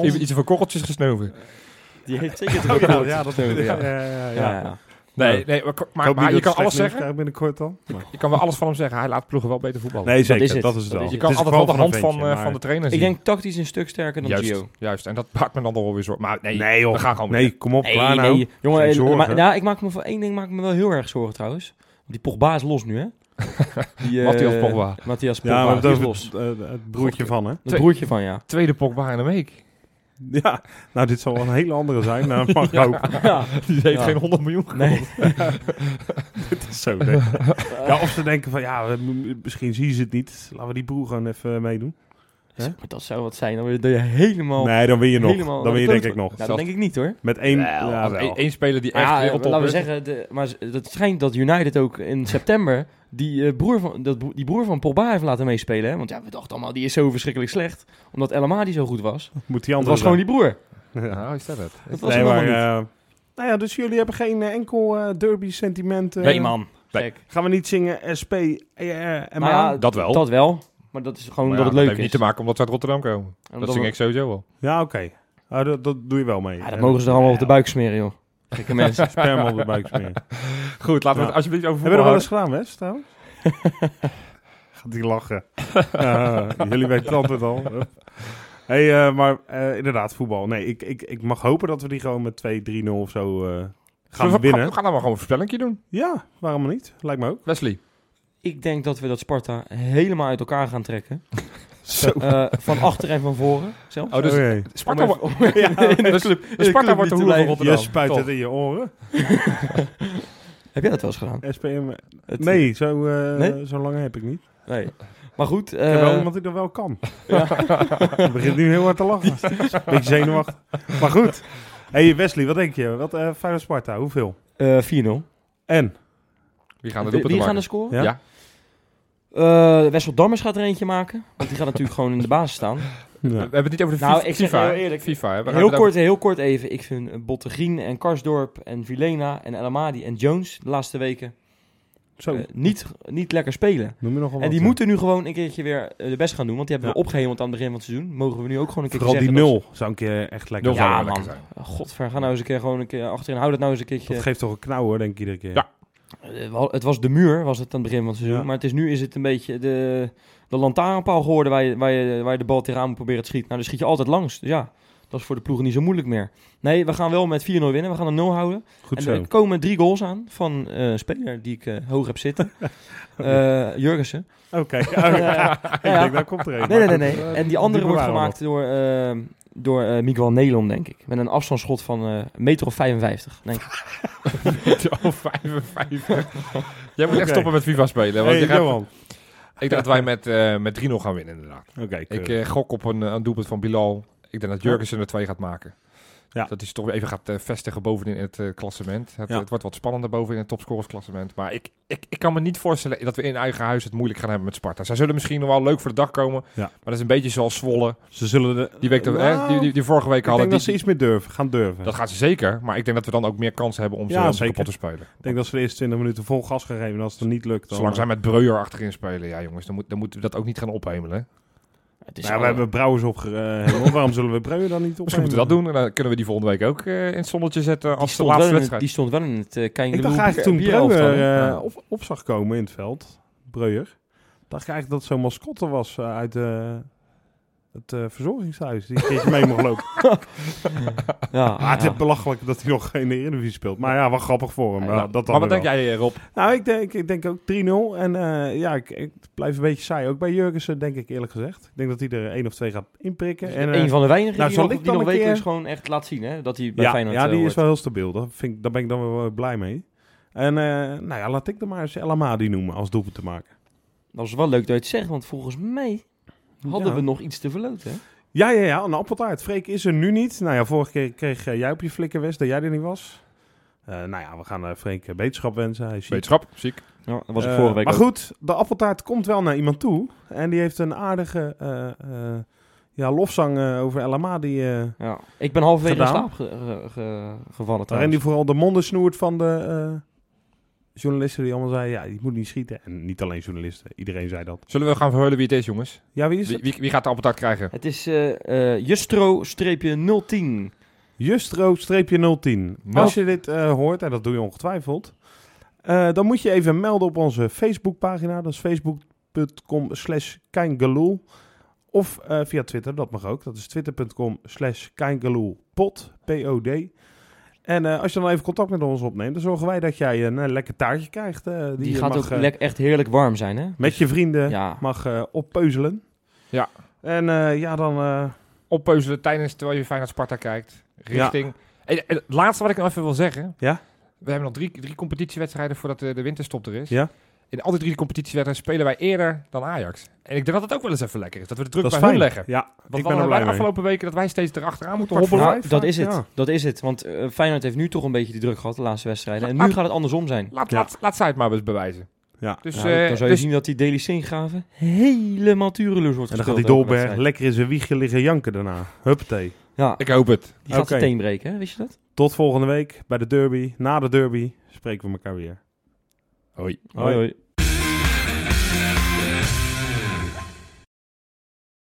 C: te- iets te veel korreltjes gesnoven.
D: Die heeft zeker te
B: Oh
D: veel
B: ja,
D: gehoord.
B: ja, dat
D: Ja,
B: ja,
D: ja.
B: ja, ja, ja.
D: Ja, ja.
C: Nee, nee maar,
B: Ik
C: maar,
B: hoop
C: maar
B: niet
C: je
B: dat
C: kan
B: we
C: alles
B: slecht nieuws
C: zeggen.
B: krijgen binnenkort dan.
C: Je kan wel alles van hem zeggen. Hij laat ploegen wel beter voetballen.
B: Nee, zeker.
D: is het.
B: Dat is het
D: Dat
B: wel.
D: is
C: je
D: het
C: kan
B: is
C: altijd wel
B: gewoon
C: de hand
B: een
C: van,
B: ventje,
C: eh, van de
B: maar-
C: trainer
D: Ik
C: zien.
D: denk tactisch een stuk sterker dan
C: juist,
D: Gio.
C: juist. En dat maakt me dan nog wel weer zorgen. Maar nee,
B: Nee, joh.
C: we gaan gewoon weer.
B: Nee, kom op, klaar nou.
D: Jongen,
B: Geen
D: eh,
B: zorgen.
D: maar, nou, ik maak me voor één ding maak ik me wel heel erg zorgen trouwens. Want die Pogba is los nu, hè? Die, eh,
C: Matthias Pogba.
D: Matthias Pogba,
B: Ja, maar
D: die
B: dat
D: is
B: is
D: los.
B: het, eh, het broertje van, hè?
D: Het broertje van, ja.
C: Tweede Pogba in een week.
B: Ja, nou, dit zal wel een hele andere zijn. Nou, mag ik hopen.
D: ja.
C: Die heeft
D: Ja.
C: geen 100 miljoen gekost.
D: Nee.
B: Het is zo, nee. Ja, of ze denken van, ja, we- m- misschien zien ze het niet. Laten we die broer gewoon even eh, meedoen. Hè?
D: Maar dat zou wat zijn. Dan word je helemaal...
B: Nee, dan win je nog.
D: Oh. helemaal-
B: Dan win je denk ik nog.
D: Nou, dat denk ik niet, hoor.
B: Met één...
C: Wel,
B: Ja,
C: als
B: wel.
C: één- één speler die
D: Maar
C: echt
D: ja, eh,
C: weer op top
D: laten we
C: is.
D: zeggen, de, maar z- het schijnt dat United ook in september die, eh, broer, van, dat, bro- die broer van Pogba heeft laten meespelen. Hè? Want ja, we dachten allemaal, die is zo verschrikkelijk slecht. Omdat El Amadi zo goed was.
B: Moet die
D: Het
B: andere
D: was gewoon die broer.
B: zijn. Ja.
C: Nou, is dat het?
D: Dat was
B: Nee,
D: het
B: maar...
D: allemaal niet.
B: eh, nou ja, dus jullie hebben geen eh, enkel eh, derby-sentiment. eh,
D: nee, man.
C: nee.
D: Gek.
B: Gaan we niet zingen eh, SP, ER en
D: Nou ja,
B: maar?
C: Dat wel.
D: Dat wel. Maar dat is gewoon
C: Maar ja,
D: omdat
C: dat
D: het
C: heeft
D: leuk
C: niet
D: is.
C: te maken omdat ze uit Rotterdam komen.
D: En
C: dat
D: omdat
C: zing
D: we-
C: ik sowieso wel.
B: Ja, oké. Ah, dat, dat doe je wel mee.
D: Ja, dat mogen ze er allemaal op de buik smeren, joh. Gekke mensen.
B: Sperma op de buik smeren. Hebben
C: Goed, laten we
B: Ja.
C: het alsjeblieft over
B: we dat
C: voetbal
B: wel eens gedaan, Wes, trouwens? Gaat die lachen. Ah, jullie weten het altijd al. Hup. hey, eh, maar eh, inderdaad, voetbal. Nee, ik, ik, ik mag hopen dat we die gewoon met 2-3-0 of zo eh, gaan
C: Zullen we-
B: winnen.
C: We gaan dan maar gewoon een voorspellingje doen.
B: Ja, waarom niet? Lijkt me ook.
C: Wesley.
D: Ik denk dat we dat Sparta helemaal uit elkaar gaan trekken.
B: Zo.
D: Eh, van achter en van voren zelfs.
C: Oh, dus
B: Oké.
C: Sparta,
D: Om
C: wordt-
D: even- om- in de
C: dus
D: club- in de
C: Sparta
D: club
C: wordt de
D: niet
C: hoer van
D: te blijven.
C: Rotterdam.
B: Je spuit
C: Toch.
B: het in je oren.
D: Heb jij dat wel eens gedaan?
B: SPM.
D: Het-
B: Nee, zo, eh,
D: Nee?
B: zo lang heb ik niet. Ik
D: Nee. Maar goed. eh,
B: heb wel iemand die dat wel kan. Het begint nu heel hard te lachen. Beetje zenuwachtig. Maar goed. hey Wesley, wat denk je? Wat eh Feyenoord Sparta, hoeveel?
D: eh, 4-0.
B: En?
C: Wie gaan de doelpunten
D: Wie- Wie gaan
C: maken?
D: er
B: Ja.
D: scoren?
C: Ja.
D: Eh, Wessel Dammers gaat er eentje maken. Want die gaat natuurlijk gewoon in de basis staan.
C: We
B: Eh,
C: hebben het niet over de
D: Nou,
C: FIFA.
D: ik zeg
C: FIFA,
D: heel eerlijk,
C: FIFA, hè. We gaan
D: Heel
C: het
D: kort, heel kort even. Ik vind eh, Botteguin en Karsdorp en Vilena en El Amadi en Jones de laatste weken
B: Zo,
D: eh, niet, niet lekker spelen.
B: noem je nogal wat.
D: En die
B: ja.
D: moeten nu gewoon een keertje weer eh, de best gaan doen. Want die hebben
B: Ja.
D: we opgehemeld aan het begin van het seizoen. Mogen we nu ook gewoon een keer
B: Vooral die
D: zeggen
B: nul zou een keer echt lekker
C: Nul
B: zijn.
C: zou
D: Ja,
C: wel lekker
D: man.
C: zijn.
D: dat- Godver, ga nou eens een keer gewoon een keer achterin. Hou dat nou eens een keertje.
B: Dat geeft toch een knauw hoor, denk ik iedere keer.
C: Ja.
D: Eh, wel, het was de muur, was het aan het begin van het seizoen.
B: Ja.
D: Maar het is, nu is het een beetje de, de lantaarnpaal geworden waar je, waar, je, waar je de bal tegenaan moet proberen te schieten. Nou, dan schiet je altijd langs. Dus ja, dat is voor de ploegen niet zo moeilijk meer. Nee, we gaan wel met 4-0 winnen. We gaan een 0 houden.
B: Goed
D: en
B: zo.
D: er komen drie goals aan van eh, een speler die ik eh, hoog heb zitten. Eh Jurgensen.
B: Oké. Oh, ja.
D: Eh,
B: Ik
D: ja.
B: denk, daar komt er een.
D: Nee, nee, nee, nee. En die andere
B: Die
D: wordt
B: bewaren we
D: gemaakt door eh, door eh, Miguel Nelom, denk ik. Met een afstandsschot van eh, een meter of 55. Denk ik.
C: Oh, 55. Jij moet
B: Oké.
C: echt stoppen met FIFA spelen. Want
B: Hey,
C: je gaat-
B: Johan.
C: ik denk dat wij met, eh, met 3-0 gaan winnen, inderdaad.
B: Oké,
C: Ik
B: keurig.
C: eh, gok op een, eh, een doelpunt van Bilal. Ik denk dat Jurgensen er twee gaat maken.
B: Ja.
C: Dat hij ze toch weer even gaat eh, vestigen bovenin in het eh, klassement. Het,
B: Ja.
C: het wordt wat spannender bovenin het topscorersklassement. Maar ik, ik, ik kan me niet voorstellen dat we in eigen huis het moeilijk gaan hebben met Sparta. Zij zullen misschien nog wel leuk voor de dag komen.
B: Ja.
C: Maar dat is een beetje zoals Zwolle.
B: ze zullen de,
C: Die, week dat- hè,
B: Nou,
C: die, die, die vorige week
B: ik denk
C: hadden.
B: dat ze
C: die-
B: iets meer durven, gaan durven.
C: dat gaan ze zeker. Maar ik denk dat we dan ook meer kansen hebben om ze,
B: Ja,
C: om ze
B: zeker.
C: kapot te spelen.
B: ik denk dat ze de eerste 20 minuten vol gas gaan geven. En als het dan niet lukt, dan... eh,
C: Zolang zij met Breuer achterin spelen. Ja jongens, dan, moet, dan moeten we dat ook niet gaan ophemelen.
D: Het
B: Nou, ja, we hebben Brouwers opgehengeld. Waarom zullen we Breuer dan niet op?
C: Misschien moeten we dat doen. En dan kunnen we die volgende week ook eh, in het zonnetje zetten
D: die,
C: als de
D: stond wel
C: laatste
D: in het,
C: wedstrijd.
D: die stond wel in het uh, Kein
B: Ik dacht eigenlijk toen Breuer
D: Breuer.
B: eh,
C: Ja.
B: op, op zag komen in het veld, Breuer, dacht ik eigenlijk dat het zo'n mascotte was eh, uit eh, het eh, verzorgingshuis. Die een keertje mee mocht lopen.
D: Ja,
B: Ah, het
D: ja.
B: is belachelijk dat hij nog in de Eredivisie speelt. Maar ja, wat grappig voor hem.
D: Ja,
B: Ja,
D: ja.
B: dat
C: maar
B: dan
C: wat
B: weer
C: denk jij, eh, Rob?
B: wel. Nou, ik denk, ik denk ook 3-0. En eh, ja, ik, ik blijf een beetje saai. Ook bij Jurgensen, denk ik eerlijk gezegd. Ik denk dat hij er één of twee gaat inprikken.
C: Dus
B: En, eh,
D: een van de weinigen
B: nou,
D: die
B: zal
D: nog,
B: ik
D: die
B: dan
D: nog
B: een keer-
D: wekelijks gewoon echt laat zien. Hè? Dat hij bij
B: ja,
D: Feyenoord
B: ja, die
D: eh,
B: is
D: wordt.
B: wel heel stabiel. Dat vind ik, daar ben ik dan wel eh, blij mee. En eh, nou ja, laat ik er maar eens El Amadi noemen als doelpunt te maken.
D: Dat is wel leuk dat je het zegt, want volgens mij hadden
B: Ja.
D: we nog iets te verloten. hè?
B: Ja, ja, ja, een appeltaart. Freek is er nu niet. Nou ja, vorige keer kreeg eh, jij op je flikker West dat jij er niet was. Eh, nou ja, we gaan eh, Freek eh, beterschap wensen. Hij is ziek.
C: Wetenschap, ziek.
D: Ja, dat was ik
B: Eh,
D: vorige week
B: Maar
D: ook.
B: goed, de appeltaart komt wel naar iemand toe. En die heeft een aardige eh, eh, ja, lofzang eh, over El Amadi. eh,
D: Ja. Ik ben halverwege in
B: Gedaan.
D: slaap ge- ge- ge- gevallen
B: waarin
D: trouwens.
B: die vooral de monden snoert van de eh, journalisten die allemaal zeiden... Ja, je moet niet schieten. En niet alleen journalisten, iedereen zei dat.
C: Zullen we gaan verheulen wie het is, jongens?
B: Ja, wie is
C: Wie,
B: het?
C: wie, wie gaat de appeltaart krijgen?
D: Het is eh, eh, Justro-010.
B: Justro-010.
C: Nou.
B: Als
D: Oh.
B: je dit eh, hoort, en dat doe je ongetwijfeld, eh, dan moet je even melden op onze Facebookpagina. Dat is facebook.com slash keingaloel. Of eh, via Twitter, dat mag ook. Dat is twitter.com slash keingaloelpod, P-O-D. En eh, als je dan even contact met ons opneemt, dan zorgen wij dat jij een eh, lekker taartje krijgt. eh, die
D: Die,
B: je
D: gaat
B: mag,
D: ook
B: eh,
D: lek- echt heerlijk warm zijn, hè?
B: met je vrienden
D: Ja.
B: mag eh, oppeuzelen.
C: Ja.
B: En eh, ja, dan... eh,
C: Oppeuzelen tijdens terwijl je fijn naar Sparta kijkt. Richting... En- en het laatste wat ik nog even wil zeggen.
B: Ja?
C: We hebben nog drie, drie competitiewedstrijden voordat de, de winterstop er is.
B: Ja.
C: In al die drie competitiewedstrijden spelen wij eerder dan Ajax. En ik denk dat het ook wel eens even lekker is. Dat we de druk
B: dat is
C: bij
B: fijn.
C: hun leggen.
B: Ja,
C: Want
B: ik ben er
C: bij
B: blij
C: de
B: mee.
C: afgelopen weken dat wij steeds erachteraan moeten
B: Kwart voor
C: hobbelen.
D: Nou,
B: vijf,
D: dat
B: vijf,
D: is het.
B: ja.
D: Dat is het. Want eh, Feyenoord heeft nu toch een beetje die druk gehad de laatste wedstrijden. En nu
C: Laat-
D: gaat het andersom zijn.
C: Laat,
B: Ja.
C: laat, laat zij het maar eens bewijzen.
B: Ja.
C: Dus,
D: Nou,
C: eh,
D: dan zou je
C: dus
D: zien dat die Deli Graven helemaal tureloos wordt
B: En dan gaat die
D: gespeeld elke
B: Dolberg
D: wedstrijd.
B: lekker in zijn wiegje liggen janken daarna. Huppatee.
D: Ja,
C: ik hoop het.
D: die gaat
B: Oké.
D: zijn teen breken, hè? Wist je dat?
B: Tot volgende week bij de derby. Na de derby spreken we elkaar weer.
C: Hoi.
B: Hoi.
D: hoi.